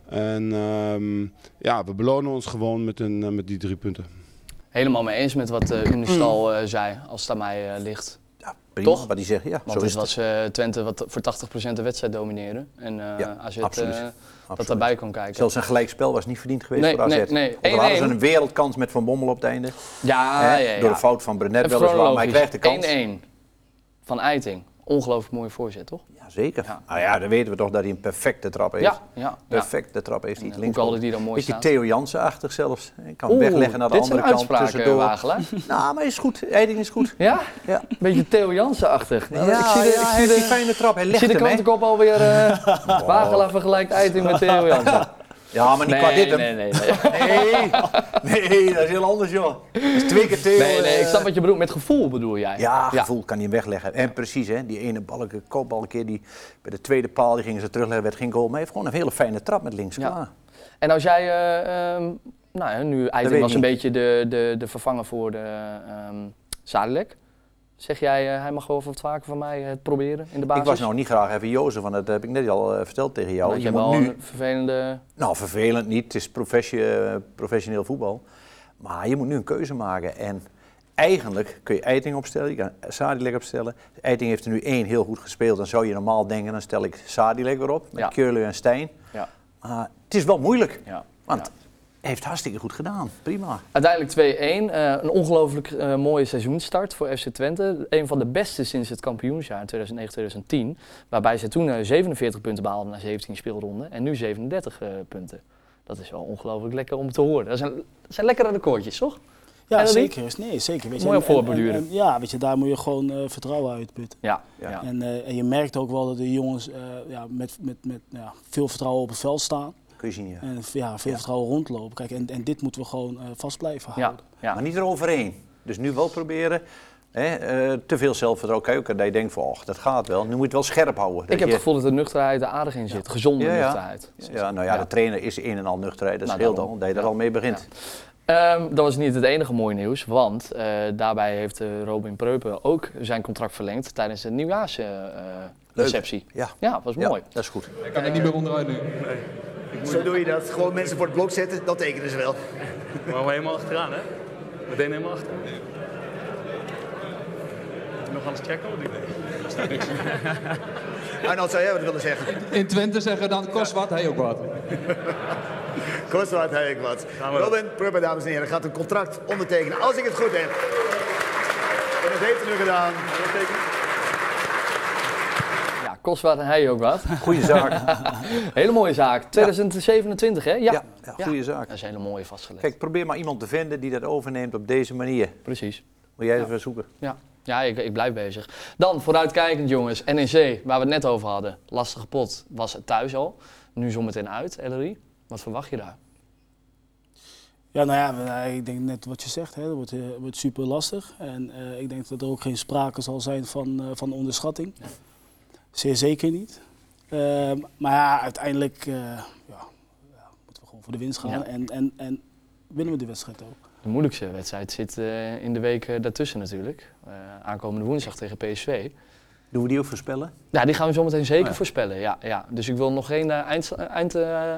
S4: En ehm, ja, we belonen ons gewoon met, een, eh, met die drie punten.
S1: Helemaal mee eens met wat eh
S3: Mm.
S1: Unestal eh, zei, als het aan mij eh, ligt.
S2: ja prima
S1: Toch?
S2: wat hij zegt. Ja,
S1: Want
S2: zo
S1: het
S2: is het.
S1: was eh, Twente wat voor 80% de wedstrijd domineren. En eh,
S2: Ja,
S1: AZ eh,
S2: absoluut.
S1: dat
S2: Absoluut.
S1: daarbij kon kijken.
S2: Zelfs een gelijkspel was niet verdiend geweest
S1: Nee,
S2: voor AZ.
S1: nee, nee.
S2: Want er hadden ze
S1: 1-1.
S2: een wereldkans met Van Bommel op het einde.
S1: ja,
S2: hè,
S1: ja, Ah, ja,
S2: Door
S1: ja.
S2: de fout van Brenet
S1: Even
S2: weliswaar, maar hij
S1: chronologisch.
S2: krijgt de kans.
S1: 1-1 van Eiting. Ongelooflijk mooie voorzet, toch?
S2: Ja, zeker.
S1: Ja.
S2: Nou ja, dan weten we toch dat hij een perfecte trap heeft.
S1: Ja, ja. ja.
S2: Perfecte trap heeft hij.
S1: En,
S2: het
S1: eh,
S2: links.
S1: hoe kan die dan mooi
S2: Beetje
S1: staan?
S2: Theo Jansen-achtig zelfs. Hij kan
S1: Oeh,
S2: wegleggen naar de
S1: dit
S2: andere
S1: zijn
S2: kant
S1: uitspraken,
S2: tussendoor.
S1: Wagelaar.
S2: Nou, maar hij is goed. Eiding is goed.
S1: eh, Ja?
S2: Ja.
S1: Beetje Theo Jansen-achtig. Nou,
S2: Ja,
S1: ik zie de,
S2: ja, hij
S1: ik
S2: heeft
S1: zie
S2: die
S1: de,
S2: fijne trap. Hij
S1: ik
S2: legt
S1: zie de
S2: hem, hè?
S1: krantenkop alweer. eh Wagelaar vergelijkt Eiting met Theo Jansen.
S2: Ja, maar niet qua dit
S1: nee, nee,
S2: hem.
S1: nee, nee.
S2: Nee, nee, dat is heel anders, joh. Dat is twee keer Theo.
S1: Nee, nee,
S2: eh,
S1: ik snap wat je bedoelt. Met gevoel bedoel jij?
S2: Ja, gevoel kan hij hem wegleggen. En precies, hè, die ene balke, kopbal een keer die bij de tweede paal, die gingen ze terugleggen, werd geen goal. Maar hij heeft gewoon een hele fijne trap met links.
S1: Ja.
S2: Klaar.
S1: En als jij, eh, ehm, nou ja, nu
S2: weet
S1: Eiting
S2: ik
S1: was een
S2: niet.
S1: beetje de, de, de vervanger voor de ehm Zadelijk. Zeg jij, eh, hij mag wel wat vaker van mij eh, het proberen in de basis?
S2: Ik was nou niet graag even Jozef, want dat heb ik net al eh, verteld tegen jou.
S1: Want Nou, je
S2: Je
S1: hebt
S2: moet
S1: wel
S2: nu,
S1: een vervelende...
S2: nou vervelend niet, het is professie- eh, professioneel voetbal. Maar je moet nu een keuze maken. En eigenlijk kun je Eiting opstellen, je kan Sadilek opstellen. Eiting heeft er nu één heel goed gespeeld. Dan zou je normaal denken, dan stel ik Sadilek weer op, met
S1: Ja.
S2: Keurle en Stijn.
S1: Ja,
S2: Maar het is wel moeilijk,
S1: ja.
S2: want
S1: ja.
S2: hij heeft hartstikke goed gedaan. Prima.
S1: Uiteindelijk 2-1. eh, een ongelooflijk eh, mooie seizoenstart voor FC Twente. Een van de beste sinds het kampioensjaar 2009-2010. Waarbij ze toen eh, 47 punten behaalden na 17 speelronden. En nu 37 eh, punten. Dat is wel ongelooflijk lekker om te horen. Dat zijn, dat zijn lekkere recordjes, toch?
S3: Ja,
S1: En dat niet?
S3: zeker. Nee, zeker. Weet je,
S1: Mooi
S3: en- en-
S1: voorborduren.
S3: en- en- Ja, weet je, daar moet je gewoon eh, vertrouwen uitputten.
S1: Ja.
S2: Ja.
S1: ja.
S3: En, eh, en je merkt ook wel dat de jongens eh, ja, met, met, met ja, veel vertrouwen op het veld staan.
S2: Kun je zien, ja.
S3: En ja, veel
S2: Ja.
S3: vertrouwen rondlopen. Kijk, en, en dit moeten we gewoon eh, vast blijven
S1: Ja,
S3: houden.
S1: ja.
S2: Maar niet eroverheen. Dus nu wel proberen. Hè, eh, te veel zelfvertrouwen kijken. Dat je denkt van, och, dat gaat wel. Nu moet je het wel scherp houden. Dat
S1: Ik heb
S2: je-
S1: het gevoel dat er nuchterheid er aardig in zit. Gezonde
S2: Ja, ja.
S1: nuchterheid.
S2: Ja, nou ja,
S1: Ja.
S2: de trainer is een en al nuchterheid. Dat
S1: Nou,
S2: scheelt
S1: daarom.
S2: al, dat je daar
S1: Ja.
S2: al mee begint.
S1: Ehm, dat was niet het enige mooie nieuws, want eh, daarbij heeft eh, Robin Preupen ook zijn contract verlengd tijdens de
S2: Leuk.
S1: nieuwjaarsreceptie. Eh,
S2: Ja.
S1: ja, was mooi.
S2: dat is goed.
S5: Ik kan er niet meer onderuit nu.
S6: Zo doe je dat. Gewoon mensen voor het blok zetten, dat tekenen ze wel.
S7: Maar we helemaal achteraan, hè? Meteen helemaal achter. Nog alles checken? Of niet?
S6: Arnold, zou jij wat willen zeggen?
S5: In Twente zeggen dan kost wat, hij ook wat.
S6: Kost wat, heb ik wat.
S7: we.
S6: Robin Prupper, dames en heren, gaat een contract ondertekenen, als ik het goed heb. En dat heeft hij nu gedaan.
S1: Ja, kost wat en hij ook wat.
S2: Goeie zaak.
S1: Hele mooie zaak. 2027, hè? Ja.
S2: Ja, ja, goede zaak.
S1: Dat is een hele mooie vastgelegd.
S2: Kijk, probeer maar iemand te vinden die dat overneemt op deze manier.
S1: Precies.
S2: Moet jij even zoeken.
S1: Ja, ja ik, ik blijf bezig. Dan, vooruitkijkend jongens. NEC, waar we het net over hadden. Lastige pot was het thuis al. Nu zometeen uit, Ellery. Wat verwacht je daar?
S3: Ja, nou ja, we- nou, ik denk net wat je zegt, hè, dat wordt, eh, wordt super lastig. En eh, ik denk dat er ook geen sprake zal zijn van, eh, van onderschatting. Zeer zeker niet. Ehm, maar ja, uiteindelijk eh, ja, ja, moeten we gewoon voor de winst gaan.
S1: Ja.
S3: En, en, en winnen we de wedstrijd ook.
S1: De moeilijkste wedstrijd zit eh, in de week eh, daartussen natuurlijk. Eh, aankomende woensdag tegen PSV.
S2: Doen we die ook voorspellen?
S1: Ja, Nou, die gaan we zometeen zeker voorspellen. Ja, ja. Dus ik wil nog geen eh, einds- eh, eind, eh,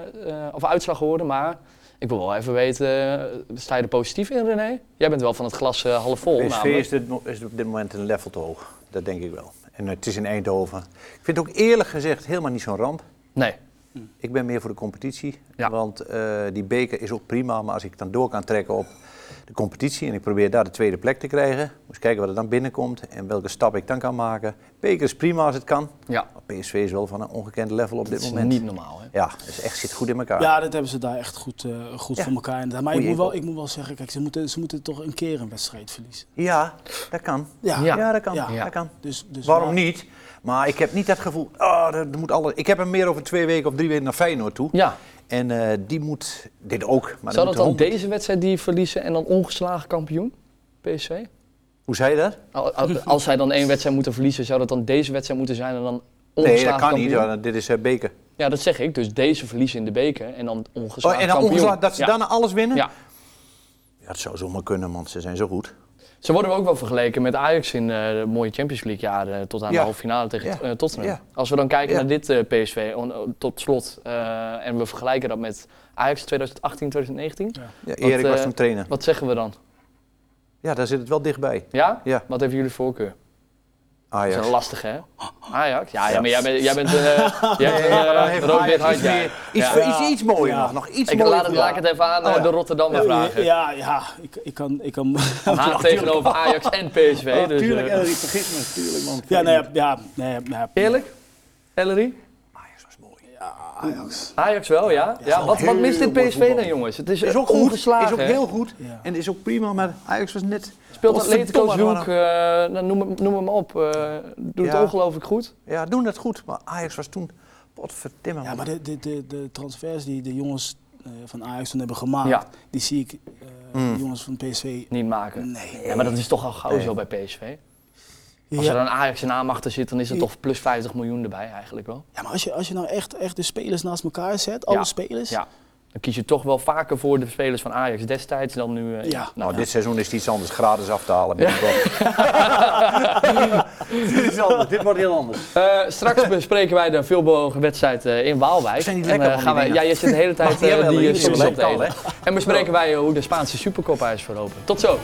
S1: eh, of uitslag horen, maar ik wil wel even weten, eh, sta je er positief in René? Jij bent wel van het glas eh, half vol
S2: PSV
S1: namelijk.
S2: is, dit mo- is op dit moment een level te hoog. Dat denk ik wel. En het is in Eindhoven. Ik vind het ook eerlijk gezegd helemaal niet zo'n ramp.
S1: Nee,
S2: Ik ben meer voor de competitie.
S1: Ja.
S2: Want eh, die beker is ook prima. Maar als ik dan door kan trekken op de competitie en ik probeer daar de tweede plek te krijgen. Moet kijken wat er dan binnenkomt en welke stap ik dan kan maken. Beker is prima als het kan.
S1: Ja,
S2: Maar PSV is wel van een ongekend level op
S1: dat
S2: dit
S1: is
S2: moment.
S1: niet normaal. Hè?
S2: Ja, dus echt zit goed in elkaar.
S3: Ja, dat hebben ze daar echt goed, eh, goed
S2: Ja.
S3: voor elkaar. inderdaad. Maar ik
S2: Goeie
S3: moet, wel,
S2: inval.
S3: ik moet wel zeggen, kijk, ze moeten, ze moeten toch een keer een wedstrijd verliezen.
S2: Ja, dat kan.
S3: Ja.
S1: Ja.
S2: dat kan.
S3: Ja.
S2: Dat kan.
S3: Dus, dus
S2: Waarom
S3: waar-
S2: niet? Maar ik heb niet dat gevoel, ah, dat moet alles. Ik heb hem meer over twee weken of drie weken naar Feyenoord toe.
S1: Ja.
S2: En eh, die moet dit ook. Maar
S1: Zou
S2: moet
S1: dat dan
S2: honderd-
S1: deze wedstrijd die verliezen en dan ongeslagen kampioen? PSV?
S2: Hoe zei je dat?
S1: Al- al- Als zij dan één wedstrijd moeten verliezen, zou dat dan deze wedstrijd moeten zijn en dan ongeslagen
S2: Nee, dat kan niet.
S1: kampioen?
S2: want dit is eh, beker.
S1: Ja, dat zeg ik. Dus deze verliezen in de beker en dan
S2: Oh,
S1: ongeslagen
S2: en dan
S1: kampioen.
S2: ongeslagen, dat ze
S1: Ja.
S2: daarna alles winnen?
S1: Ja.
S2: Ja, dat zou zomaar kunnen, want ze zijn zo goed.
S1: Ze worden ook wel vergeleken met Ajax in eh, de mooie Champions League jaren eh, tot aan
S2: Ja.
S1: de halve finale tegen
S2: Ja.
S1: eh, Tottenham.
S2: Ja.
S1: Als we dan kijken
S2: Ja.
S1: naar dit eh, PSV on- oh, tot slot eh, en we vergelijken dat met Ajax 2018, 2019,
S2: Ja,
S1: Wat,
S2: Erik was
S1: eh,
S2: toen trainer.
S1: wat zeggen we dan?
S2: Ja, daar zit het wel dichtbij.
S1: Ja?
S2: Ja.
S1: Wat hebben jullie voorkeur? Dat is
S2: Ajax.
S1: een lastige, hè? Ajax? Ja, ja,
S2: Ja.
S1: maar jij bent, jij bent, eh, jij hebt een
S2: Ja, dan
S1: eh,
S2: heeft
S1: rood-wit
S2: Ajax
S1: hart.
S2: iets,
S1: ja.
S2: meer- iets,
S1: Ja.
S2: voor- iets, iets mooier
S3: Ja.
S2: nog. Nog iets
S1: Ik
S2: mooier.
S1: laat het,
S2: voor-
S1: laat ik het even aan eh,
S2: Oh, ja.
S1: de Rotterdammer vragen.
S3: Ja, ja ik, ik kan... Ik kan
S1: Haat tegenover Ajax en PSV. Dus,
S8: Tuurlijk,
S1: eh,
S8: Elrie, vergis me. Tuurlijk, man.
S3: nou ja, nee, ja, ja, nee, nee,
S1: eerlijk? Ellery?
S2: Ajax was mooi.
S1: Ajax wel, ja. ja, wat, wat mist dit
S2: heel mooi
S1: PSV dan, jongens? Het is,
S2: Is ook goed, is
S1: ongeslagen.
S2: ook
S1: hè?
S2: heel goed
S3: Ja.
S2: en is ook prima, maar Ajax was net...
S1: Speelt
S2: Godverdomme,
S1: Atletico Zwoek,
S2: maar-
S1: eh, nou, noem, hem- noem hem op. eh doet
S2: Ja.
S1: het ongelooflijk goed.
S2: Ja, doen dat goed, maar Ajax was toen... Potverdimme,
S3: Ja,
S2: man.
S3: maar de, de, de, de transfers die de jongens eh, van Ajax toen hebben gemaakt,
S1: Ja. Mm.
S3: die zie ik eh, de jongens van PSV.
S1: Niet maken.
S3: Nee.
S1: Ja, maar dat is toch al gauw zo bij PSV. Als
S3: Ja.
S1: er dan Ajax en naam achter zit, dan is er
S3: Ja.
S1: toch plus 50 miljoen erbij eigenlijk wel.
S3: Ja, maar als je, als je nou echt, echt de spelers naast elkaar zet, alle
S1: Ja.
S3: spelers.
S1: Ja. Dan kies je toch wel vaker voor de spelers van Ajax destijds dan nu. eh,
S3: Ja.
S2: Nou, dit seizoen is het iets anders. Gratis af te halen. dit is anders. Dit wordt heel anders.
S1: Eh, straks bespreken wij de veelbewogen wedstrijd eh, in Waalwijk.
S2: Zijn die
S1: En,
S2: lekker,
S1: eh,
S2: man,
S1: gaan
S2: die
S1: wij, ja,
S2: dingen?
S1: je zit de hele tijd
S2: Mag niet
S1: eh,
S2: hebben,
S1: die
S2: Ellen,
S1: eh,
S2: je
S1: chips
S2: bent
S1: op te
S2: lekker
S1: eten.
S2: al,
S1: En bespreken wij eh, hoe de Spaanse Supercoppa is verlopen. Tot zo!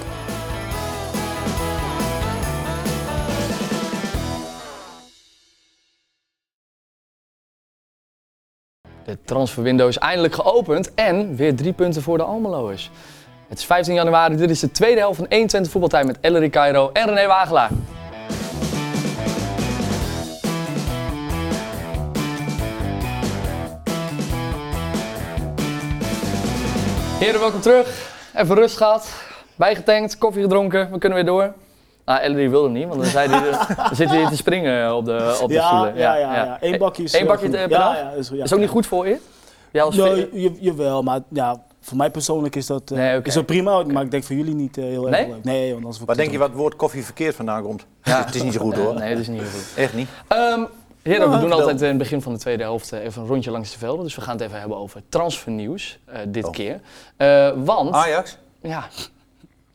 S1: De transferwindow is eindelijk geopend en weer drie punten voor de Almeloers. Het is 15 januari, dit is de tweede helft van 120 voetbaltijd met Ellery Cairo en René Wagelaar. Heren, welkom terug. Even rust gehad, bijgetankt, koffie gedronken, we kunnen weer door. Nou, Ellery wilde niet, want dan, zei hij, dan zit hij hier te springen eh, op de, op de
S3: Ja,
S1: stoelen.
S3: ja, ja, ja. Eén bakje is,
S1: Eén
S3: eh,
S1: bakje
S3: goed.
S1: eh, per
S3: Ja,
S1: dag?
S3: ja, is goed, ja.
S1: is ook niet goed voor je? Ja, als
S3: Nou,
S1: ve-
S3: je- jawel, maar ja, voor mij persoonlijk is dat, eh,
S1: Nee, oké.
S3: is dat prima, maar ik denk voor jullie niet eh, heel erg
S1: Nee?
S3: leuk. Nee, want anders wordt
S2: Wat
S3: het
S2: denk je
S3: ook-
S2: wat het woord koffie verkeerd vandaan komt? Het is niet zo goed
S1: Eh,
S2: hoor.
S1: Nee, dat is niet heel goed.
S2: Echt niet.
S1: Ehm heren, we doen
S2: vertel.
S1: altijd in het begin van de tweede helft eh, even een rondje langs de velden. Dus we gaan het even hebben over transfernieuws eh, dit
S2: Oh.
S1: keer. Eh, want,
S2: Ajax,
S1: ja,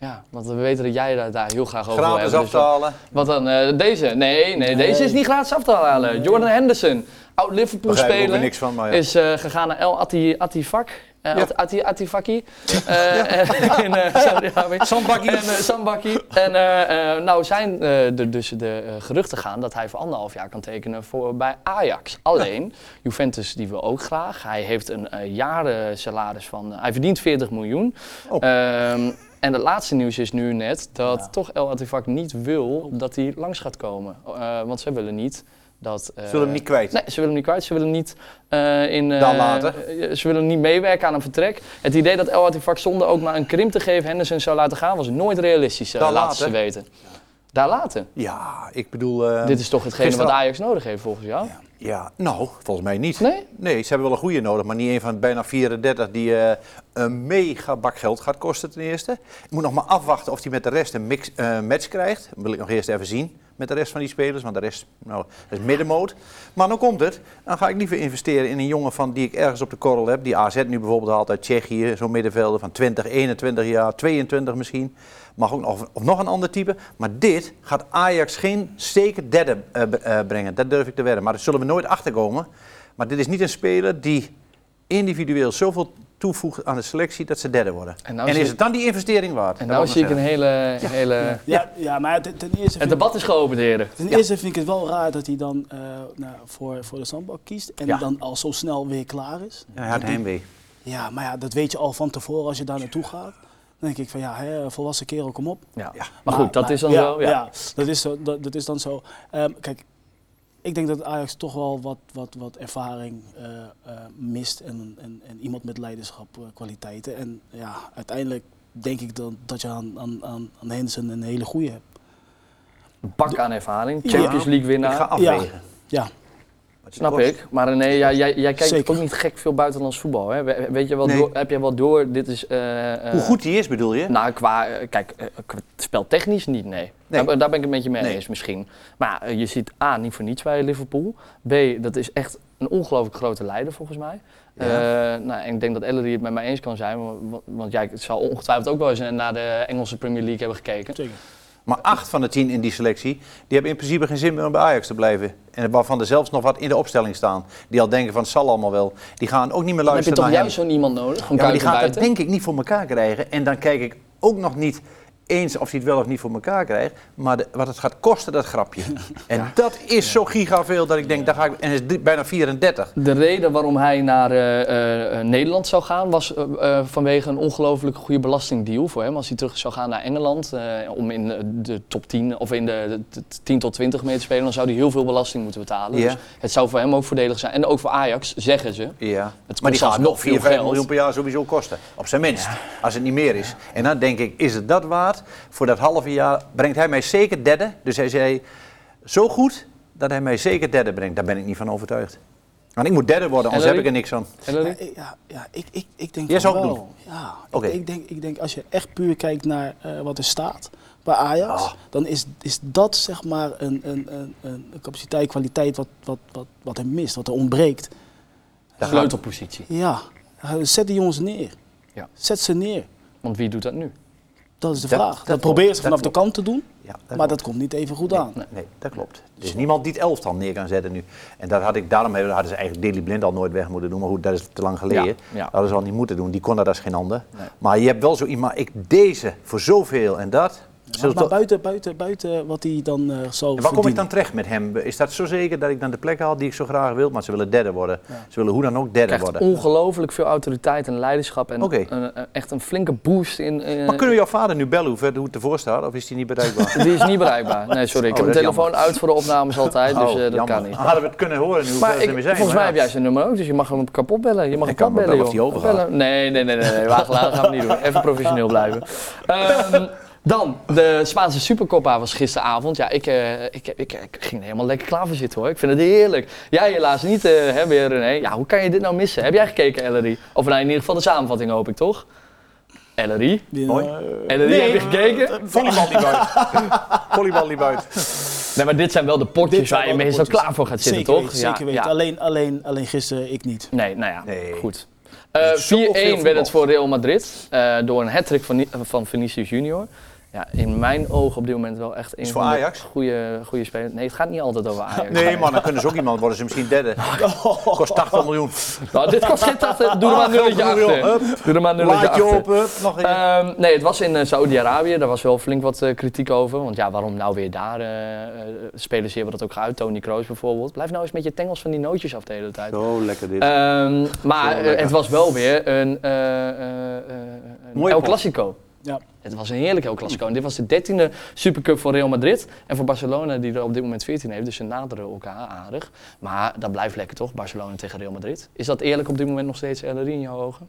S1: ja, want we weten dat jij daar, daar heel graag over wil
S2: gratis
S1: hebben.
S2: af
S1: dus
S2: te
S1: wat-
S2: halen.
S1: wat dan? eh, deze? Nee, nee, deze is niet gratis af te halen. eh, Jordan Henderson, oud Liverpool
S2: Begrijp ik ook weer
S1: speler,
S2: niks van, maar ja.
S1: is eh, gegaan naar El Atti, Attifak. eh, At- Atti, Attifaki. eh, eh, in eh, Saudi-Arabië.
S2: Zandbakkie.
S1: En, eh, Sambaki. En eh, eh, nou zijn eh, er dus de eh, geruchten gaan dat hij voor anderhalf jaar kan tekenen voor, bij Ajax. Alleen, Juventus die wil ook graag. Hij heeft een eh, jaren salaris van, eh, hij verdient 40 miljoen.
S2: Oh.
S1: Ehm, en het laatste nieuws is nu net dat toch El Atifak niet wil dat hij langs gaat komen. Eh, want zij willen niet dat... eh,
S2: Ze willen hem niet kwijt.
S1: Nee, ze willen hem niet kwijt. Ze willen niet eh, in. eh,
S2: Dan later.
S1: eh, ze willen niet meewerken aan een vertrek. Het idee dat El Atifak zonder ook maar een krimp te geven Henderson zou laten gaan, was nooit realistisch. eh,
S2: Dan
S1: laten
S2: later.
S1: ze weten. Daar laten.
S2: Ja, ik bedoel... eh,
S1: Dit is toch hetgene
S2: gisteren-
S1: wat Ajax nodig heeft volgens jou?
S2: Ja, nou, volgens mij niet.
S1: Nee?
S2: Nee, ze hebben wel een goede nodig, maar niet een van bijna 34 die eh, een mega bak geld gaat kosten ten eerste. Ik moet nog maar afwachten of hij met de rest een mix, eh, match krijgt. Dat wil ik nog eerst even zien met de rest van die spelers, want de rest nou, dat is middenmoot. Maar dan komt het, dan ga ik liever investeren in een jongen van die ik ergens op de korrel heb. Die AZ nu bijvoorbeeld haalt uit Tsjechië, zo'n middenvelder van 20, 21 jaar, 22 misschien. Mag ook nog, of nog een ander type. Maar dit gaat Ajax geen zeker derde eh, b- eh, brengen. Dat durf ik te wedden. Maar daar zullen we nooit achterkomen. Maar dit is niet een speler die individueel zoveel toevoegt aan de selectie, dat ze derde worden.
S1: En
S2: En,
S1: nou zie-
S2: is het dan die investering waard?
S1: En
S2: Dat eh,
S1: nou
S2: wil
S1: zie ik een
S2: zeggen.
S1: hele... hele...
S3: Ja, ja maar ten, ten eerste
S1: Het
S3: vind, ik-
S1: debat is geopend, heren.
S3: ten eerste vind ik het wel raar dat hij dan eh, nou, voor, voor de zandbak kiest en
S2: Ja.
S3: dan al zo snel weer klaar is.
S2: Hij had heimwee.
S3: Ja, maar ja, dat weet je al van tevoren als je daar naartoe gaat. Dan denk ik van ja, hè, volwassen kerel, kom op.
S1: Ja. Maar goed, dat
S3: maar-
S1: is dan
S3: ja,
S1: zo. Ja.
S3: dat, is zo dat, dat is dan zo. Ehm, kijk, ik denk dat Ajax toch wel wat, wat, wat ervaring eh, eh, mist en, en, en iemand met leiderschap eh, kwaliteiten. En ja, uiteindelijk denk ik dan, dat je aan, aan, aan, aan Henderson een hele goeie hebt.
S1: Bak aan ervaring.
S3: Ja.
S1: Champions League
S2: Ik ga
S1: winnaar.
S2: afwegen.
S3: Ja,
S2: Wat je
S1: Snap
S2: kost.
S1: ik. Maar René, jij, jij, jij kijkt
S3: Zeker.
S1: ook niet gek veel buitenlands voetbal. Hè? We- Weet je wel
S2: Nee.
S1: door, heb je wel door? Dit is. eh, eh,
S2: Hoe goed die is bedoel je?
S1: Nou, qua, eh, kijk, eh, qua speltechnisch niet, nee.
S2: Nee.
S1: Daar, daar ben ik een beetje mee
S2: Nee.
S1: eens misschien. Maar eh, je ziet A, niet voor niets bij Liverpool. B, dat is echt een ongelooflijk grote leider volgens mij.
S2: Ja.
S1: Eh, nou, en ik denk dat Ellery het met mij eens kan zijn. wa- wa- Want, jij zou ongetwijfeld ook wel eens naar de Engelse Premier League hebben gekeken.
S3: zeker.
S2: Maar acht van de tien in die selectie, die hebben in principe geen zin meer om bij Ajax te blijven. En waarvan er zelfs nog wat in de opstelling staan. Die al denken van het zal allemaal wel. Die gaan ook niet meer
S1: Dan heb je
S2: luisteren
S1: toch
S2: naar
S1: juist
S2: hem.
S1: zo'n iemand nodig? Gewoon
S2: Ja, maar die
S1: kuiten
S2: gaat dat
S1: buiten?
S2: denk ik niet voor elkaar krijgen. En dan kijk ik ook nog niet eens of hij het wel of niet voor elkaar krijgt. Maar de- wat het gaat kosten, dat grapje. En dat is zo gigaveel dat ik denk, daar ga ik, en hij is drie- bijna 34.
S1: De reden waarom hij naar eh, eh, eh, Nederland zou gaan was eh, eh, vanwege een ongelooflijk goede belastingdeal voor hem. Als hij terug zou gaan naar Engeland eh, om in eh, de top 10 of in de, de t- 10 tot 20 mee te spelen, dan zou hij heel veel belasting moeten betalen.
S2: Ja.
S1: Dus het zou voor hem ook voordelig zijn. En ook voor Ajax, zeggen ze.
S2: Ja,
S1: kost
S2: maar die
S1: ons
S2: gaat
S1: wel
S2: nog
S1: veel
S2: 4, 5
S1: geld.
S2: miljoen per jaar sowieso kosten. Op zijn minst, als het niet meer is. En dan denk ik, is het dat waard? Voor dat halve jaar brengt hij mij zeker derde. Dus hij zei, zo goed dat hij mij zeker derde brengt. Daar ben ik niet van overtuigd. Want ik moet derde worden, anders heb
S1: Ellery?
S2: ik er niks aan.
S1: Ellery?
S3: Ja, ik- ja, ja ik, ik, ik denk
S2: Jij
S3: van
S2: zou het
S3: wel.
S2: doen?
S3: Ja, ik-
S2: Oké.
S3: ik, denk, ik denk als je echt puur kijkt naar eh, wat er staat bij Ajax,
S2: Ah.
S3: dan is, is dat zeg maar een, een, een, een capaciteit, kwaliteit wat, wat, wat, wat er mist, wat er ontbreekt.
S1: De sleutelpositie.
S3: Ja, eh, zet die jongens neer.
S1: Ja.
S3: Zet ze neer.
S1: Want wie doet dat nu?
S3: Dat is de
S2: Dat-
S3: vraag.
S2: dat
S3: Dat,
S2: klopt,
S3: proberen
S2: dat
S3: ze vanaf de
S2: klopt.
S3: kant te doen,
S2: Ja,
S3: maar
S2: klopt.
S3: dat komt niet even goed aan.
S2: Nee, dat klopt. Er is niemand die het elftal neer kan zetten nu. En dat had ik, daarom hebben- hadden ze eigenlijk Daily Blind al nooit weg moeten doen. Maar goed, dat is te lang geleden.
S1: Ja,
S2: Dat
S1: ja.
S2: hadden ze al niet moeten doen. Die kon dat als geen ander. Maar je hebt wel zo iemand, ik deze voor zoveel en dat.
S3: Maar,
S2: Zullen
S3: maar
S2: we toch-
S3: buiten, buiten, buiten wat hij dan eh zou
S2: En waar kom ik dan
S3: verdienen.
S2: terecht met hem? Is dat zo zeker dat ik dan de plek haal die ik zo graag wil? Maar ze willen derde worden. Ze willen hoe dan ook derde
S1: Krijgt
S2: worden.
S1: ongelooflijk veel autoriteit en leiderschap. En
S2: Oké.
S1: een- een- echt een flinke boost in. eh,
S2: Maar kunnen we jouw vader nu bellen hoe, ver, hoe het ervoor staat? Of is die niet bereikbaar?
S1: Die is niet bereikbaar. Nee, sorry. Ik
S2: Oh,
S1: heb
S2: dat
S1: mijn
S2: is
S1: telefoon uit voor de opnames altijd, dus
S2: Oh,
S1: eh, dat
S2: jammer.
S1: kan niet.
S2: Hadden we het kunnen horen nu hoe
S1: Maar
S2: ver ze
S1: ik-
S2: ermee zijn.
S1: volgens
S2: maar
S1: mij heb
S2: ja.
S1: jij zijn nummer ook, dus je mag hem kapot bellen. Je mag hem
S2: kan
S1: kapot
S2: hem
S1: bellen,
S2: bellen
S1: joh.
S2: of hij overgaat.
S1: Bellen. Nee, nee, nee, nee, nee. Wagelaar gaan we niet doen. Even professioneel blijven. Ehm, dan, de Spaanse Supercoppa was gisteravond. Ja, ik, eh, ik, ik, ik ging er helemaal lekker klaar voor zitten hoor. Ik vind het heerlijk. Jij helaas niet, eh, hè, weer René. Ja, hoe kan je dit nou missen? Heb jij gekeken, Ellery? Of nou, in ieder geval de samenvatting hoop ik, toch? Ellery?
S3: Die-
S2: Mooi.
S1: Ellery, heb je gekeken?
S2: Volleybal niet buiten. Volleybal niet buiten.
S1: Nee, maar dit zijn wel de potjes
S3: Dit zijn
S1: waar je
S3: wel de
S1: meestal
S3: potjes.
S1: klaar voor gaat zitten,
S3: Zeker
S1: toch?
S3: weten,
S1: Ja,
S3: zeker weten.
S1: ja.
S3: Alleen, alleen, alleen gisteren ik niet.
S1: Nee, nou ja,
S2: Nee.
S1: goed.
S2: Er
S1: Eh,
S2: is zoveel
S1: 4-1 werd
S2: voetbal.
S1: het voor Real Madrid eh, door een hat-trick van, Ni- van Vinicius Junior. Ja, in mijn ogen op dit moment wel echt een
S2: voor
S1: van
S2: Ajax?
S1: de goede, goede spelers. Nee, het gaat niet altijd over Ajax.
S2: Nee, maar dan kunnen ze ook iemand worden. Ze misschien derde. Kost 80 miljoen.
S1: Nou, dit kost geen tachtig. Doe er maar een nulletje
S2: Ah, genoeg,
S1: achter.
S2: joh.
S1: Doe er maar een nulletje
S2: Laat je
S1: achter.
S2: op. hup, Nog een.
S1: Ehm, nee, het was in eh, Saudi-Arabië. Daar was wel flink wat eh, kritiek over. Want ja, waarom nou weer daar? eh, eh, spelers hier hebben dat ook geuit. Tony Kroos bijvoorbeeld. Blijf nou eens met je tengels van die nootjes af de hele tijd.
S2: Eh, Zo lekker dit.
S1: Ehm, maar
S2: Zo
S1: eh,
S2: lekker.
S1: het was wel weer een, eh, eh, eh, een
S2: Mooie
S1: El
S2: pot.
S1: Clasico.
S3: Ja.
S1: Het was een heerlijk El Clasico. En dit was de dertiende Supercup voor Real Madrid. En voor Barcelona, die er op dit moment 14 heeft. Dus ze naderen elkaar aardig. Maar dat blijft lekker toch, Barcelona tegen Real Madrid. Is dat eerlijk op dit moment nog steeds, Ellery, in jouw ogen?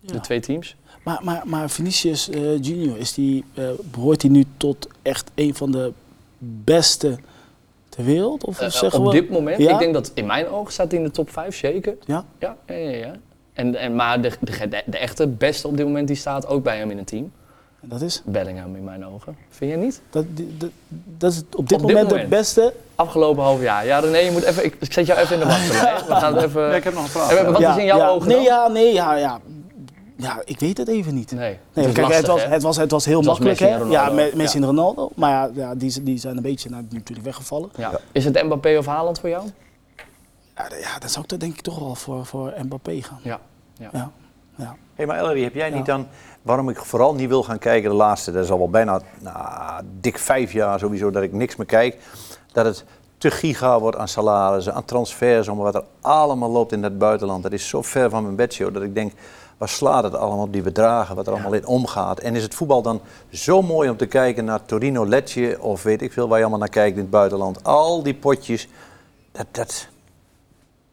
S1: De
S3: Ja.
S1: twee teams?
S3: Maar, maar, maar Vinicius eh, Junior, is die, eh, behoort hij nu tot echt een van de beste ter wereld? Of
S1: Eh,
S3: zeggen
S1: op
S3: we...
S1: dit moment?
S3: Ja?
S1: Ik denk dat in mijn ogen staat hij in de top 5, zeker.
S3: Ja?
S1: Ja, ja, ja. ja. En, en, maar de, de, de, de echte beste op dit moment, die staat ook bij hem in het team.
S3: Dat is,
S1: Bellingham in mijn ogen. Vind jij niet?
S3: dat, die- dat, dat is op dit
S1: Op dit
S3: moment
S1: moment.
S3: het beste.
S1: Afgelopen half jaar. Ja, René, je moet even. Ik, ik zet jou even in de wacht. René. We gaan even.
S2: Ja, ik heb nog een vraag.
S1: Eh, wat
S3: Ja,
S1: is in jouw
S3: ja.
S1: ogen?
S3: Nee,
S1: dan?
S3: ja, nee, ja, ja. Ja, ik weet het even niet.
S1: Nee. het
S3: Nee,
S1: is
S3: kijk, het,
S1: lastig,
S3: was,
S1: hè?
S3: het, was, het was heel
S1: Het was
S3: makkelijk,
S1: Messi en
S3: hè? Ja,
S1: Ronaldo.
S3: me- Messi en Ronaldo. Maar ja, ja die, die zijn een beetje nou, natuurlijk weggevallen.
S1: Ja. Is het Mbappé of Haaland voor jou?
S3: Ja, d- ja, dan zou ik toch denk ik toch wel voor, voor Mbappé gaan.
S1: Ja. ja.
S3: Ja. Ja.
S2: Hé, maar Ellery, heb jij niet dan, waarom ik vooral niet wil gaan kijken, de laatste, dat is al wel bijna nou, dik vijf jaar sowieso dat ik niks meer kijk, dat het te giga wordt aan salarissen, aan transfers, om wat er allemaal loopt in het buitenland. Dat is zo ver van mijn bedshow dat ik denk, waar slaat het allemaal op die bedragen, wat er allemaal in omgaat. En is het voetbal dan zo mooi om te kijken naar Torino, Lecce of weet ik veel waar je allemaal naar kijkt in het buitenland. Al die potjes, dat, dat,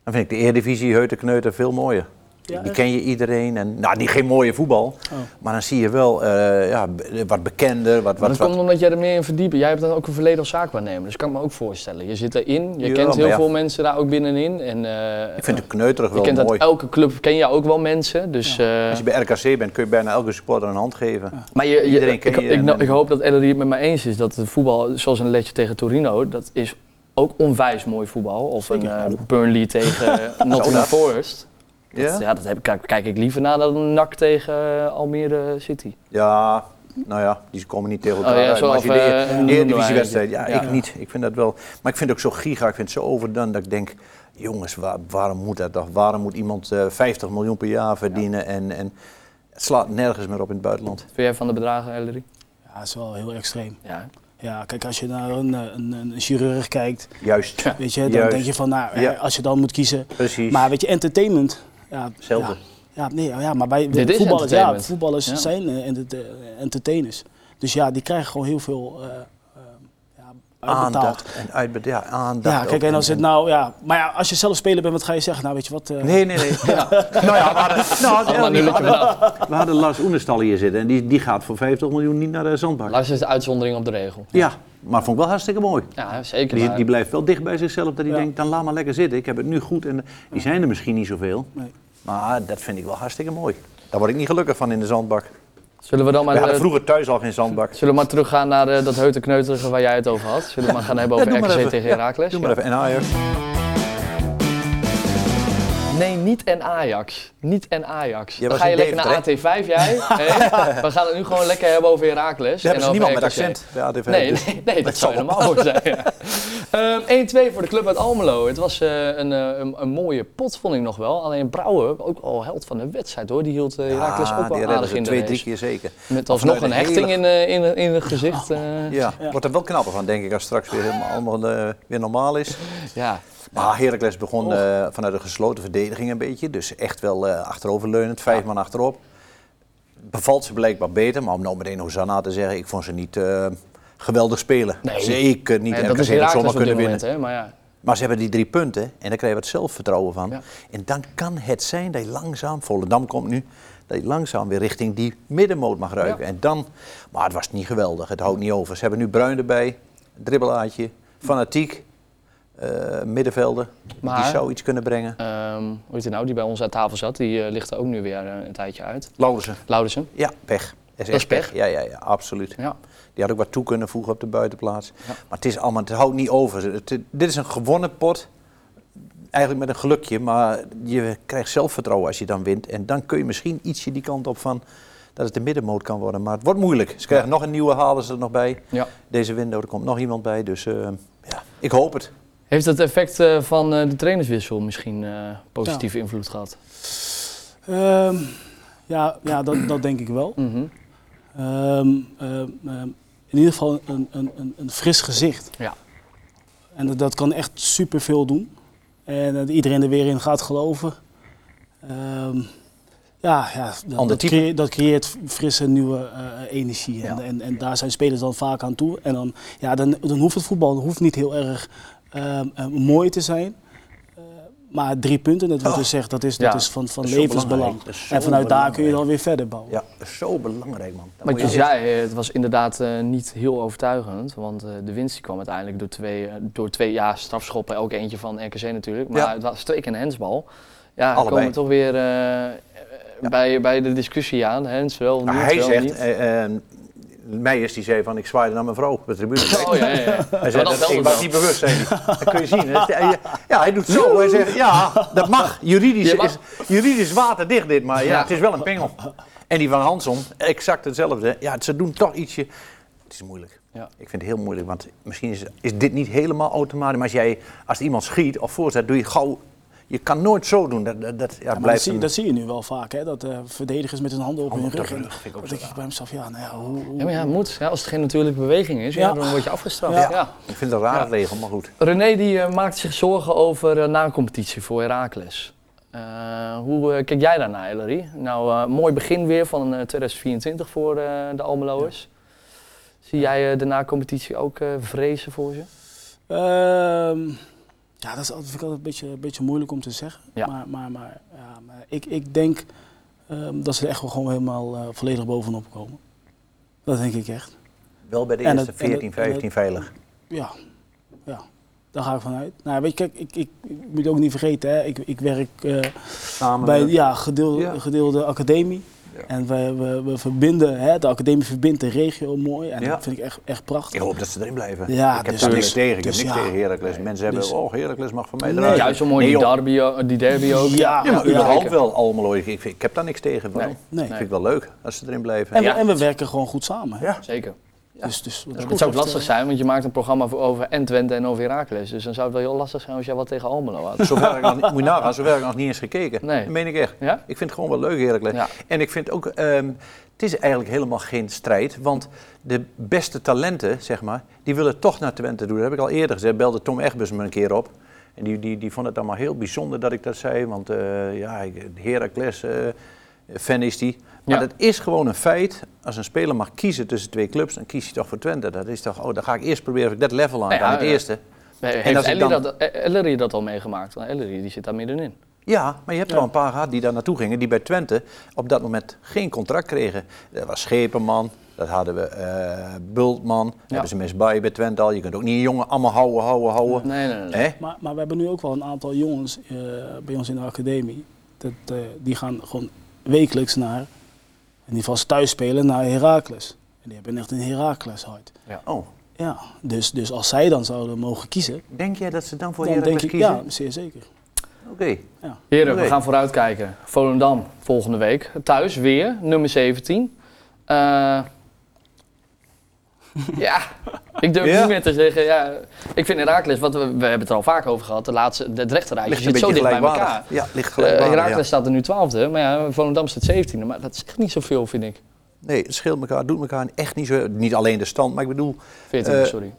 S2: dan vind ik de Eredivisie, Heute Kneuter veel mooier. die
S3: Ja, echt? Oh.
S2: ken je iedereen. En, nou, niet geen mooie voetbal. Maar dan zie je wel eh, ja, b- wat bekender. Wat,
S1: Maar
S2: wat,
S1: dat
S2: wat,
S1: komt omdat jij er meer in verdiept. Jij hebt dan ook een verleden als zaakwaarnemer, dus kan ik me ook voorstellen. Je zit erin, je
S2: Ja,
S1: kent
S2: maar
S1: heel
S2: ja.
S1: veel mensen daar ook binnenin. En, eh,
S2: ik vind de kneuterig
S1: je
S2: wel
S1: kent uit
S2: mooi.
S1: elke club, ken je ook wel mensen. Dus, eh,
S2: Als je bij RKC bent, kun je bijna elke supporter een hand geven.
S1: maar je, je-
S2: iedereen
S1: ik,
S2: ken je
S1: ik,
S2: en-
S1: nou, ik hoop dat Ellery het met mij eens is dat het voetbal, zoals een Letje tegen Torino, dat is ook onwijs mooi voetbal. Of een eh, Burnley tegen eh, Nottingham
S2: dat.
S1: Forest. Dat, ja?
S2: Ja?
S1: dat heb, kijk, kijk ik liever naar dan een NAC tegen eh, Almere City.
S2: Ja, nou ja, die komen niet tegen elkaar
S1: Oh ja,
S2: uit.
S1: zo
S2: Maar als je
S1: of,
S2: de
S1: eh,
S2: Eer-
S1: een
S2: Eredivisiewedstrijd, ja,
S1: Ja.
S2: ik niet. Ik vind dat wel. Maar ik vind het ook zo giga, ik vind het zo overdone dat ik denk... Jongens, waar- waarom moet dat toch? Waarom moet iemand eh, 50 miljoen per jaar verdienen? En, en het slaat nergens meer op in het buitenland.
S1: Vind jij van de bedragen, Ellery?
S3: ja, dat is wel heel extreem.
S1: Ja.
S3: Ja, kijk, als je naar een, eh, een, een chirurg kijkt,
S2: Juist,
S3: weet je, dan
S2: Juist.
S3: denk je van, nou, eh,
S2: Ja.
S3: als je dan moet kiezen.
S2: precies.
S3: Maar weet je, entertainment. Ja,
S2: Hetzelfde.
S3: Ja, ja, nee, ja maar wij
S1: Dit is
S3: voetballers, ja,
S1: entertainment.
S3: voetballers
S1: Ja.
S3: zijn eh, enter- eh, entertainers. Dus ja, die krijgen gewoon heel veel eh, eh, ja, uitbetaald.
S2: Aandacht en uitbe- ja, aandacht.
S3: Ja, kijk,
S2: ook.
S3: en als het nou, ja, maar ja, als je zelf speler bent, wat ga je zeggen? Nou, weet je wat? eh,
S2: Nee, nee, nee. Ja. nou ja, we hadden, nou,
S1: Allemaal
S2: we
S1: nulletje
S2: hadden,
S1: vanaf.
S2: we hadden Lars Oenestal hier zitten en die, die gaat voor 50 miljoen niet naar de zandbak.
S1: Lars is de uitzondering op de regel.
S2: Ja, maar vond ik wel hartstikke mooi.
S1: Ja, zeker.
S2: Die,
S1: maar-
S2: die blijft wel dicht bij zichzelf, dat hij
S3: Ja.
S2: denkt, dan laat maar lekker zitten, ik heb het nu goed. En die zijn er misschien niet zoveel,
S3: Nee.
S2: maar dat vind ik wel hartstikke mooi. Daar word ik niet gelukkig van in de zandbak.
S1: Zullen we dan
S2: We
S1: maar,
S2: hadden
S1: eh,
S2: vroeger thuis al geen zandbak.
S1: zullen we maar teruggaan naar eh, dat heutenkneuterige waar jij het over had? Zullen we maar gaan hebben
S2: Ja,
S1: over
S2: doe maar
S1: RKC
S2: even.
S1: tegen
S2: Ja,
S1: Heracles?
S2: Doe maar even, en Ajax.
S1: Nee, niet en Ajax. Niet en Ajax.
S2: Jij
S1: dan ga
S2: was
S1: je
S2: in
S1: lekker naar
S2: Deventer,
S1: AT5 jij. Hè? we gaan het nu gewoon lekker hebben over Heracles.
S2: Daar hebben ze
S1: en
S2: niemand
S1: over
S2: met
S1: RKC.
S2: accent bij ATV.
S1: Nee,
S2: dus-
S1: nee, nee, dat
S2: dat
S1: zou
S2: zal
S1: helemaal goed zijn. ja. Ehm, 1-2 voor de club uit Almelo. Het was eh, een, eh, een, een mooie pot, vond ik nog wel. Alleen Brouwer, ook al held van de wedstrijd hoor, die hield eh, Heracles
S2: Ja,
S1: ook wel
S2: Ah, die redden
S1: aardig
S2: ze
S1: in de
S2: twee,
S1: race.
S2: drie keer zeker.
S1: Met alsnog
S2: vanuit
S1: een
S2: een
S1: hechting
S2: hele- Oh,
S1: in, eh, in, in het gezicht. eh,
S2: Ja, wordt er wel knapper van, denk ik, als straks weer helemaal allemaal eh, weer normaal is.
S1: ja.
S2: Maar Heracles begon eh, vanuit een gesloten verdediging een beetje. Dus echt wel eh, achteroverleunend, vijf man achterop. Bevalt ze blijkbaar beter, maar om nou meteen Hosanna te zeggen, ik vond ze niet eh, geweldig spelen.
S1: Nee.
S2: Zeker niet.
S1: En
S2: RKC
S1: dat is
S2: had
S1: Heracles op
S2: zomaar
S1: dit
S2: kunnen
S1: moment,
S2: winnen.
S1: hè. Maar ja,
S2: Maar ze hebben die drie punten en dan krijgen we het zelfvertrouwen van.
S1: Ja.
S2: En dan kan het zijn dat je langzaam, Volendam komt nu, dat je langzaam weer richting die middenmoot mag ruiken. En dan, maar het was niet geweldig, het houdt niet over. Ze hebben nu Bruin erbij, dribbelaatje, fanatiek, eh middenvelden.
S1: Maar-
S2: Die zou iets kunnen brengen.
S1: ehm, hoe heet hij nou, die bij ons aan tafel zat, die eh, ligt er ook nu weer eh, een tijdje uit.
S2: Laudersen.
S1: Laudersen.
S2: Ja, pech. Dat
S1: is
S2: echt
S1: pech.
S2: Ja, ja, ja, absoluut.
S1: Ja.
S2: Die had ook wat toe kunnen voegen op de buitenplaats. Maar het is allemaal, het houdt niet over. Het- het- dit is een gewonnen pot. Eigenlijk met een gelukje, maar je krijgt zelfvertrouwen als je dan wint. En dan kun je misschien ietsje die kant op van dat het de middenmoot kan worden. Maar het wordt moeilijk. Ze krijgen nog een nieuwe, halen ze er nog bij.
S1: Ja.
S2: Deze window, er komt nog iemand bij. Dus eh, ja, ik hoop het.
S1: Heeft dat effect eh, van eh, de trainerswissel misschien eh, positieve invloed gehad?
S3: Ehm, ja, ja dat, dat denk ik wel.
S1: Mhm.
S3: Ehm, ehm, ehm, in ieder geval een, een, een, een fris gezicht.
S1: Ja.
S3: En dat, dat kan echt superveel doen. En dat iedereen er weer in gaat geloven. Ehm, ja, ja dat,
S2: Ander
S3: dat,
S2: type.
S3: creë- dat creëert frisse nieuwe eh, energie. En,
S2: Ja.
S3: en, en daar zijn spelers dan vaak aan toe. En dan, ja, dan, dan hoeft het voetbal hoeft niet heel erg ehm, eh, mooi te zijn. Eh, maar drie punten, dat wordt gezegd, dat is, dat
S1: Ja.
S3: is van,
S2: Oh.
S3: van
S2: Dat is zo
S3: levensbelang.
S2: belangrijk. Dat is zo
S3: En vanuit daar kun je
S2: belangrijk.
S3: dan weer verder bouwen.
S2: Ja, dat is zo belangrijk, man. Dat
S1: Want
S2: moet
S1: je
S2: je
S1: zei, eh, het was inderdaad eh, niet heel overtuigend. Want eh, de winst die kwam uiteindelijk door twee, eh, door twee ja, strafschoppen. Ook eentje van RKC natuurlijk. Maar
S2: Ja.
S1: het was twee keer een hensbal. Ja, dan
S2: Allebei.
S1: komen we toch weer eh, eh, bij, bij de discussie aan. Hens wel, niet,
S2: Nou, hij
S1: wel
S2: zegt,
S1: niet.
S2: eh, eh, Meijers die zei van ik zwaaide naar mijn vrouw op de tribune.
S1: Oh ja, ja, ja.
S2: Hij
S1: Maar
S2: zei,
S1: dat
S2: dat, ik
S1: telt
S2: was
S1: wel.
S2: niet bewust, zei hij. Dat kun je zien. hè. Hij- Ja, hij doet zo. Hij zegt, ja, dat mag. Juridisch,
S1: Je mag.
S2: Is, juridisch waterdicht dit, maar ja,
S1: Ja.
S2: het is wel een pengel. En die van Hansom, exact hetzelfde. Ja, ze doen toch ietsje... Het is moeilijk.
S1: Ja.
S2: Ik vind het heel moeilijk, want misschien is, is dit niet helemaal automatisch. Maar als, jij, als iemand schiet of voorzet, doe je gauw Je kan nooit zo doen. Dat, dat, dat, ja,
S3: Ja, maar dat,
S2: blijft
S3: zie,
S2: een-
S3: dat zie je nu wel vaak, hè? dat eh, verdedigers met hun handen op hun
S2: Handen op
S3: rug.
S2: de
S3: En
S2: rug vind ik ook
S3: dan
S2: zo
S3: denk ik bij mezelf, ja, nou ja, hoe, hoe-
S1: Ja, maar ja, het moet. Ja, als het geen natuurlijke beweging is, ja.
S3: Ja.
S1: dan word je afgestraft.
S3: Ja.
S1: Ja.
S2: Ik vind het een raar regel, maar goed.
S1: René die, eh, maakt zich zorgen over eh, na-competitie voor Heracles. Eh, hoe eh, kijk jij daarnaar, Ellery? Nou, eh, mooi begin weer van eh, 2024 voor eh, de Almeloers. Zie jij eh, de na-competitie ook eh, vrezen voor ze?
S3: Ehm, ja, dat is altijd, vind ik altijd een beetje, een beetje moeilijk om te zeggen.
S1: Ja.
S3: Maar, maar, maar, ja, maar ik, ik denk ehm, dat ze er echt wel gewoon helemaal eh, volledig bovenop komen. Dat denk ik echt.
S2: Wel bij de
S3: En
S2: eerste
S3: het- en het-
S2: 14, 15 veilig.
S3: Ja, ja. daar ga ik vanuit. Nou, weet je, kijk, ik, ik, ik moet ook niet vergeten, hè. Ik, ik werk eh,
S2: Samen
S3: bij
S2: met-
S3: ja, gedeel,
S2: Ja.
S3: gedeelde academie. En we, we, we verbinden, hè, de academie verbindt de regio mooi. En
S2: Ja.
S3: dat vind ik echt, echt prachtig.
S2: Ik hoop dat ze erin blijven.
S3: Ja,
S2: ik heb
S3: dus-
S2: daar niks
S3: dus-
S2: tegen. Ik
S3: dus
S2: heb niks
S3: ja.
S2: tegen Heracles. Mensen hebben,
S3: Dus-
S2: oh, Heracles mag van mij
S3: Nee.
S2: eruit.
S1: Juist zo mooi
S2: Nee,
S1: die
S2: joh.
S1: derby, eh, die derby ook.
S3: Ja.
S2: Ja, maar
S3: Ja,
S2: überhaupt
S1: zeker.
S2: wel Almelo. Ik, ik, ik heb daar niks tegen. Waarom?
S1: Nee,
S3: nee.
S2: Ik vind het wel leuk als ze erin blijven.
S3: En, we-
S1: Ja.
S3: en we werken gewoon goed samen. Hè?
S2: Ja.
S1: Zeker.
S3: Dus, dus, wat dat
S1: het zou ook
S3: betreft,
S1: lastig
S3: eh,
S1: zijn, want je maakt een programma voor- over en Twente en over Heracles. Dus dan zou het wel heel lastig zijn als jij wat tegen Almelo had.
S2: Zover ik nog, niet- moet je nagaan, zover heb ik nog niet eens gekeken.
S1: Nee.
S2: Dat meen ik echt.
S1: Ja?
S2: Ik vind het gewoon wel leuk, Heracles.
S1: Ja.
S2: En ik vind ook, ehm, het is eigenlijk helemaal geen strijd. Want de beste talenten, zeg maar, die willen toch naar Twente doen. Dat heb ik al eerder gezegd. Belde Tom Egbers me een keer op. En die, die, die vond het allemaal heel bijzonder dat ik dat zei. Want eh, ja, ik- Heracles, eh, fan is die. Maar
S1: Ja.
S2: dat is gewoon een feit. Als een speler mag kiezen tussen twee clubs, dan kies je toch voor Twente. Dat is toch, oh, dan ga ik eerst proberen of ik dat level aan
S1: Nou ja,
S2: dan het
S1: ja.
S2: eerste.
S1: Nee,
S2: En
S1: Heeft
S2: als ik
S1: Ellery
S2: dan-
S1: dat, eh, Ellery dat al meegemaakt? Want Ellery die zit daar middenin.
S2: Ja, maar je hebt er al een paar gehad die daar naartoe gingen, die bij Twente op dat moment geen contract kregen. Dat was Schepenman, dat hadden we eh Bultman, daar hebben ze mis bij bij Twente al. Je kunt ook niet een jongen allemaal houden, houden, houden.
S1: Nee, nee, nee. nee.
S2: Hè?
S3: Maar, maar we hebben nu ook wel een aantal jongens eh, bij ons in de academie. Dat, eh, die gaan gewoon wekelijks naar, in ieder geval als ze thuis spelen, naar Heracles. En die hebben echt een Heracles hart.
S2: Oh,
S3: Ja, dus, dus als zij dan zouden mogen kiezen,
S2: denk jij dat ze dan voor
S3: dan denk
S2: Heracles
S3: ik,
S2: kiezen?
S3: ja, zeer zeker.
S2: Oké.
S1: Heren, we
S2: Nee.
S1: gaan vooruitkijken. Volendam volgende week. Thuis weer, nummer 17. Eh, ja, ik durf
S2: Ja?
S1: niet meer te zeggen. Ja, ik vind Herakles, wat we, we hebben het er al vaak over gehad, de laatste, het rechterrijtje
S2: Ligt een
S1: zit zo
S2: beetje
S1: dicht bij
S2: gelijkwaardig.
S1: elkaar.
S2: Ja, ligt
S1: Eh
S2: gelijkwaardig.
S1: Heracles
S2: ja.
S1: staat er nu 12e, maar ja, Volendam staat 17e. Maar dat is echt niet zoveel, vind ik.
S2: Nee, het scheelt elkaar, doet elkaar echt niet zo. Niet alleen de stand, maar ik bedoel,
S1: 14e,
S2: Eh,
S1: sorry.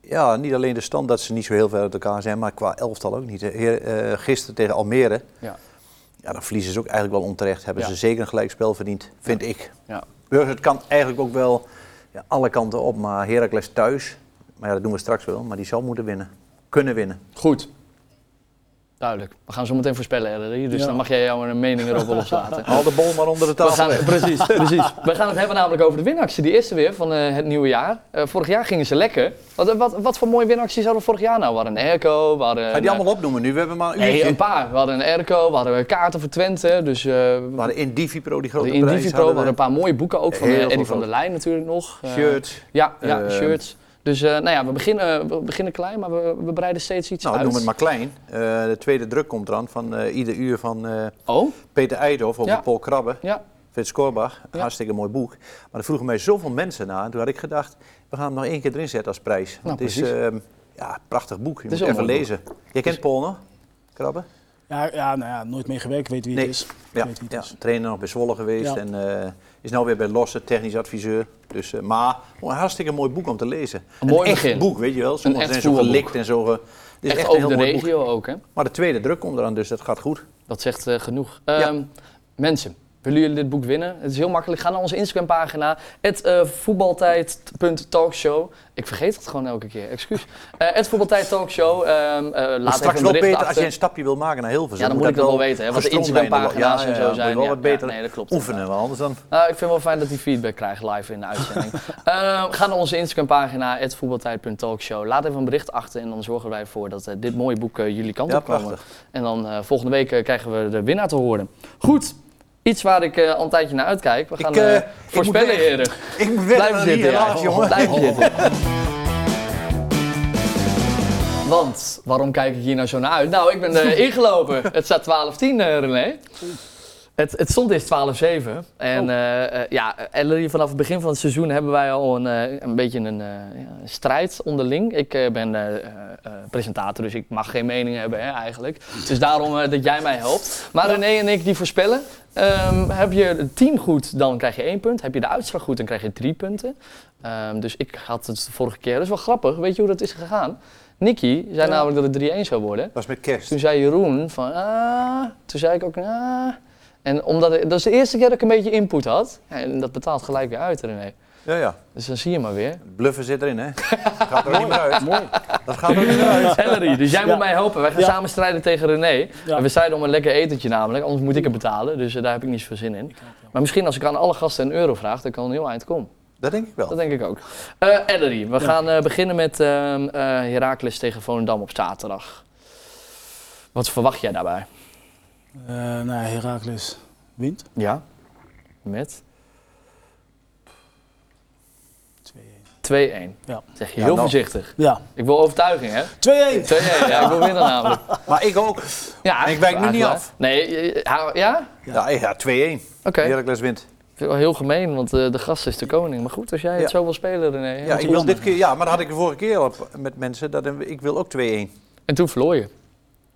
S2: Ja, niet alleen de stand dat ze niet zo heel ver uit elkaar zijn, maar qua elftal ook niet. hè. Heer, eh, gisteren tegen Almere,
S1: Ja.
S2: ja, dan verliezen ze dus ook eigenlijk wel onterecht. Hebben
S1: Ja.
S2: ze zeker een gelijkspel verdiend, vind ik.
S1: Ja.
S2: Dus het kan eigenlijk ook wel ja, alle kanten op, maar Heracles thuis, maar ja, dat doen we straks wel, maar die zal moeten winnen. Kunnen winnen.
S1: Goed. Duidelijk. We gaan zo meteen voorspellen, Ellery. Dus
S3: Ja.
S1: dan mag jij jouw mening erop loslaten.
S2: Haal de bol maar onder de
S1: We
S2: tafel
S1: gaan,
S2: weg.
S1: precies, precies. We gaan het hebben namelijk over de winactie. Die eerste weer van eh, het nieuwe jaar. Eh, vorig jaar gingen ze lekker. Wat, eh, wat, wat voor mooie winacties hadden we vorig jaar nou? We hadden een airco, we hadden...
S2: Ga je die
S1: nou,
S2: allemaal opnoemen nu? We hebben maar een
S1: nee,
S2: uurtje.
S1: een paar. We hadden een airco, we hadden eh, kaarten voor Twente. Dus eh we
S2: We hadden in Divipro die grote
S1: hadden
S2: prijs.
S1: Indivipro, we hadden een
S2: hadden
S1: paar mooie boeken ook. Van
S2: Heel
S1: eh,
S2: veel
S1: Eddie van
S2: grote.
S1: der Leyen natuurlijk nog.
S2: we.
S1: Eh,
S2: Shirts.
S1: Ja, ja
S2: Eh,
S1: shirts. Dus eh, nou ja, we beginnen, we beginnen klein, maar we, we breiden steeds iets
S2: Nou,
S1: uit.
S2: noem het maar klein. Eh, de tweede druk komt eraan van eh, ieder uur van eh,
S1: Oh,
S2: Peter Eidhoff over
S1: Ja.
S2: Paul Krabbe.
S1: ja.
S2: Frits Korbach,
S1: Ja.
S2: hartstikke mooi boek. Maar er vroegen mij zoveel mensen naar. En toen had ik gedacht, we gaan hem nog één keer erin zetten als prijs. Want
S1: Nou,
S2: het is
S1: precies.
S2: ehm, ja, een prachtig boek. Je
S1: Het is wel
S2: moet even
S1: een mooi
S2: lezen. Je kent Paul nog? Krabbe?
S3: Ja, ja, nou ja, nooit mee gewerkt, weet wie het
S2: Nee.
S3: is.
S2: Ja,
S3: weet wie het
S2: ja,
S3: is.
S2: trainer nog bij Zwolle geweest.
S3: Ja.
S2: En eh, is nu weer bij Losse, technisch adviseur. Dus, eh, maar gewoon een hartstikke mooi boek om te lezen.
S1: Een mooi
S2: echt
S1: begin.
S2: boek, weet je wel. Sommigen
S1: echt
S2: zijn zo
S1: voetbalboek.
S2: gelikt en zo. ge- Het is
S1: Echt,
S2: echt, een
S1: over
S2: heel
S1: de
S2: mooi boek.
S1: regio ook, hè?
S2: Maar de tweede druk komt eraan, dus dat gaat goed.
S1: Dat zegt eh, genoeg.
S2: Ja.
S1: Ehm, Mensen, willen jullie dit boek winnen? Het is heel makkelijk. Ga naar onze Instagram-pagina, het eh, voetbaltijd.talkshow. Ik vergeet het gewoon elke keer, excuus. Eh, Het voetbaltijd.talkshow. ehm, eh,
S2: Maar
S1: laat even
S2: straks
S1: een
S2: wel
S1: bericht
S2: beter, als
S1: achter.
S2: je een stapje wil maken naar Hilversum.
S1: Ja, dan moet ik dat wel weten, hè, wat de
S2: gestroomlijnder worden.
S1: Instagram-pagina's en zo
S2: moet je
S1: zijn.
S2: wel
S1: Ja,
S2: wat beter
S1: ja, nee, dat klopt
S2: oefenen, want anders dan...
S1: Nou, ik vind het wel fijn dat die feedback krijgt live in de uitzending. Eh, ga naar onze Instagram-pagina, het voetbaltijd.talkshow. Laat even een bericht achter en dan zorgen wij ervoor dat eh, dit mooie boek eh, jullie kant
S2: Ja,
S1: op komen.
S2: prachtig.
S1: En dan eh, volgende week eh, krijgen we de winnaar te horen. Goed, iets waar ik eh, al een tijdje naar uitkijk. We gaan
S2: eh,
S1: eh,
S2: ik moet
S1: voorspellen,
S2: weg.
S1: heren.
S2: Ik ben
S1: Blijf zitten, ja. Blijf
S2: Oh.
S1: zitten. Want, waarom kijk ik hier nou zo naar uit? Nou, ik ben eh, ingelopen. Het staat 12-10, eh, René. Het, het stond eens 12-7. En eh, eh, ja, Ellery, vanaf het begin van het seizoen hebben wij al een, eh, een beetje een eh, ja, een strijd onderling. Ik eh, ben eh, eh, eh, presentator, dus ik mag geen mening hebben hè, eigenlijk. Dus daarom eh, dat jij mij helpt. Maar René en ik die voorspellen. Ehm, heb je het team goed, dan krijg je één punt. Heb je de uitslag goed, dan krijg je drie punten. Ehm, dus ik had het de vorige keer. Dat is wel grappig. Weet je hoe dat is gegaan? Nicky zei namelijk dat het 3-1 zou worden.
S2: was met kerst.
S1: Toen zei Jeroen van, ah, toen zei ik ook, ah. En omdat ik, dat is de eerste keer dat ik een beetje input had. En dat betaalt gelijk weer uit, René.
S2: Ja, ja.
S1: Dus dan zie je maar weer.
S2: Bluffen zit erin, hè? Dat gaat er ook niet meer uit. Dat gaat er ook niet meer uit.
S1: Ellery, dus jij
S3: Ja.
S1: moet mij helpen. Wij gaan
S3: Ja.
S1: samen strijden tegen René.
S3: Ja.
S1: En we strijden om een lekker etentje namelijk, anders moet ik het betalen. Dus eh, daar heb ik niet zoveel zin in. Maar misschien als ik aan alle gasten een euro vraag, dan kan een heel eind komen.
S2: Dat denk ik wel.
S1: Dat denk ik ook. Eh Ellery, we gaan eh, beginnen met ehm eh, Heracles tegen Volendam op zaterdag. Wat verwacht jij daarbij?
S3: Eh nou, ja, Heracles wint. 2-1.
S1: Ja. Met 2-1.
S3: Ja.
S1: Zeg je heel
S2: Ja, nou.
S1: voorzichtig.
S3: Ja, Ik-
S1: Ik wil overtuiging, hè?
S3: 2-1.
S1: 2-1, ja, ik wil winnen namelijk.
S2: Maar ik ook.
S1: Ja,
S2: Ik wijk nu niet
S1: eigenlijk.
S2: af.
S1: Nee, je- je- hou- ja?
S2: Ja, ja 2-1.
S1: Oké. Ik
S2: Heracles wint.
S1: vind het wel heel gemeen, want eh, de gast is de koning. Maar goed, als jij
S2: Ja.
S1: het zo wil spelen, René. hè?
S2: Ja, ik wil dit keer, ja, maar dat had ik de vorige keer al op- met mensen. Dat, ik wil ook 2-1. Dat
S1: En toen verloor je.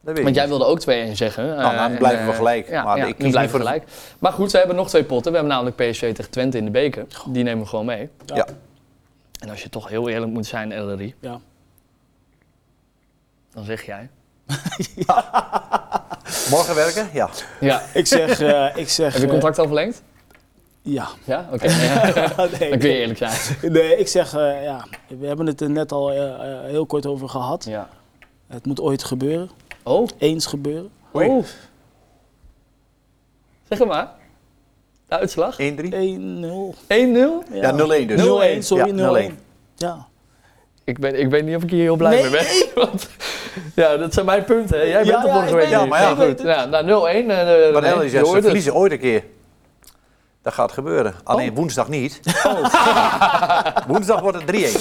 S2: weet ik
S1: Want jij
S2: niet.
S1: wilde ook 2-1 zeggen. Nou,
S2: dan blijven we gelijk. Maar ik kies
S1: we blijven
S2: niet voor
S1: gelijk. Maar goed, we hebben nog twee potten. We hebben namelijk PSV tegen Twente in de beker. Die nemen we gewoon mee.
S2: Ja.
S1: En als je toch heel eerlijk moet zijn, Ellery,
S3: Ja.
S1: dan zeg jij...
S2: Morgen werken? Ja.
S1: Ja.
S3: Ik zeg, eh, ik zeg...
S1: Heb je
S3: eh,
S1: contract al verlengd?
S3: ja.
S1: Ja? Oké. Ja,
S3: nee,
S1: Dan kun je eerlijk zijn.
S3: nee, ik zeg, eh, ja, we hebben het er net al eh, eh, heel kort over gehad.
S1: Ja.
S3: Het moet ooit gebeuren.
S1: Oh.
S3: Eens gebeuren.
S2: Oei.
S1: Oh. Zeg het maar. De uitslag? 1-0?
S2: 1-3?
S3: 1-0.
S2: Ja, 0-1 dus.
S3: 0-1, sorry,
S2: Ja,
S3: 0-1. Ja.
S1: Ik, ben, ik weet niet of ik hier heel blij mee ben. Want, ja, dat zijn mijn punten. Hè. Jij
S3: Ja,
S1: bent er
S3: ja,
S1: vorige
S3: ik
S1: week
S3: weet
S2: het,
S1: niet.
S2: ik weet
S1: goed. Ja, nou, 0-1. eh, eh,
S2: Maar
S1: René,
S2: Ellie
S1: je
S2: zegt, ze
S1: hoort het.
S2: verliezen ooit een keer. Dat gaat gebeuren. Alleen
S1: Oh.
S2: woensdag niet. woensdag wordt het 3-1.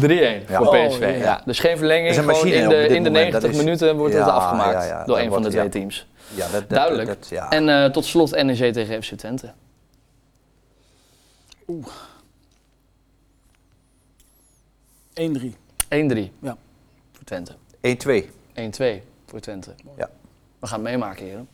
S1: 3-1
S2: Ja.
S1: voor
S2: Oh,
S1: PSV.
S3: ja.
S1: ja. Dus geen verlenging.
S2: Dat is een
S1: gewoon in
S2: machine
S1: de,
S2: op dit
S1: in de
S2: moment, dat
S1: 90
S2: is-
S1: minuten wordt het
S2: Ja,
S1: afgemaakt
S2: ja, ja,
S1: door
S2: dat
S1: een van de
S2: wordt-
S1: twee
S2: ja.
S1: teams.
S2: Ja, dat, dat-
S1: Duidelijk.
S2: dat- ja.
S1: En eh, tot slot NEC tegen FC Twente.
S3: Ja. 1-3.
S1: 1-3
S3: Ja.
S1: voor Twente.
S2: 1-2.
S1: 1-2 voor Twente.
S2: Ja.
S1: We gaan het meemaken, heren.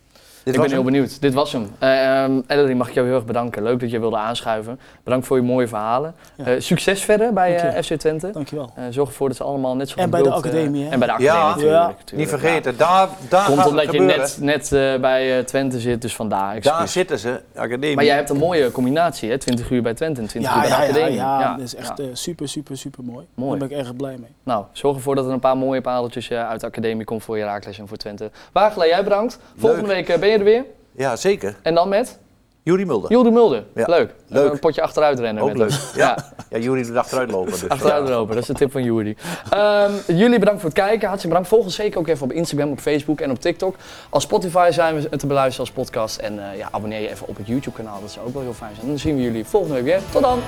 S2: Dit
S1: ik
S2: was
S1: ben heel
S2: hem.
S1: benieuwd. Dit was hem. Eh ehm, Ellery, mag ik jou heel erg bedanken. Leuk dat je wilde aanschuiven. Bedankt voor je mooie verhalen.
S3: Ja.
S1: Eh, succes verder bij
S3: Dank je.
S1: eh, FC Twente.
S3: Dankjewel.
S1: Eh, zorg ervoor dat ze allemaal net zo
S3: En
S1: goed
S3: bij de
S1: wild, eh,
S3: academie, hè?
S1: En bij de
S2: Ja.
S1: academie, natuurlijk.
S3: Ja.
S1: natuurlijk,
S2: Niet
S1: ja.
S2: vergeten, daar, daar
S1: Komt
S2: gaat
S1: omdat
S2: het
S1: je
S2: gebeuren.
S1: net, net eh, bij eh, Twente zit, dus vandaar. excuus.
S2: Daar zitten ze, academie.
S1: Maar jij hebt een mooie combinatie, hè? 20 uur bij Twente en 20
S3: Ja,
S1: uur bij
S3: ja,
S1: de
S3: ja,
S1: academie.
S3: ja,
S1: Ja,
S3: dat is echt
S1: ja.
S3: eh, super, super, super mooi.
S1: Mooi.
S3: Daar ben ik erg blij mee.
S1: Nou, zorg ervoor dat er een paar mooie pareltjes eh, uit de academie komt voor Herakles en voor Twente. Wagela, jij bedankt. Volgende
S2: Leuk.
S1: week eh, ben je er weer.
S2: Ja, zeker.
S1: En dan met
S2: Jurie Mulder.
S1: Jolde Mulder.
S2: Ja,
S1: Leuk.
S2: leuk.
S1: Een potje achteruit rennen.
S2: Ook
S1: met
S2: leuk.
S1: hem.
S2: Ja, ja Jurie doet achteruit lopen. Dus,
S1: Achteruit lopen, dat is de tip van Jury. Ehm, jullie bedankt voor het kijken. Hartstikke bedankt. Volg ons zeker ook even op Instagram, op Facebook en op TikTok. Als Spotify zijn we te beluisteren als podcast. En eh, ja, abonneer je even op het YouTube kanaal. Dat zou ook wel heel fijn zijn. En dan zien we jullie volgende week weer. Tot dan!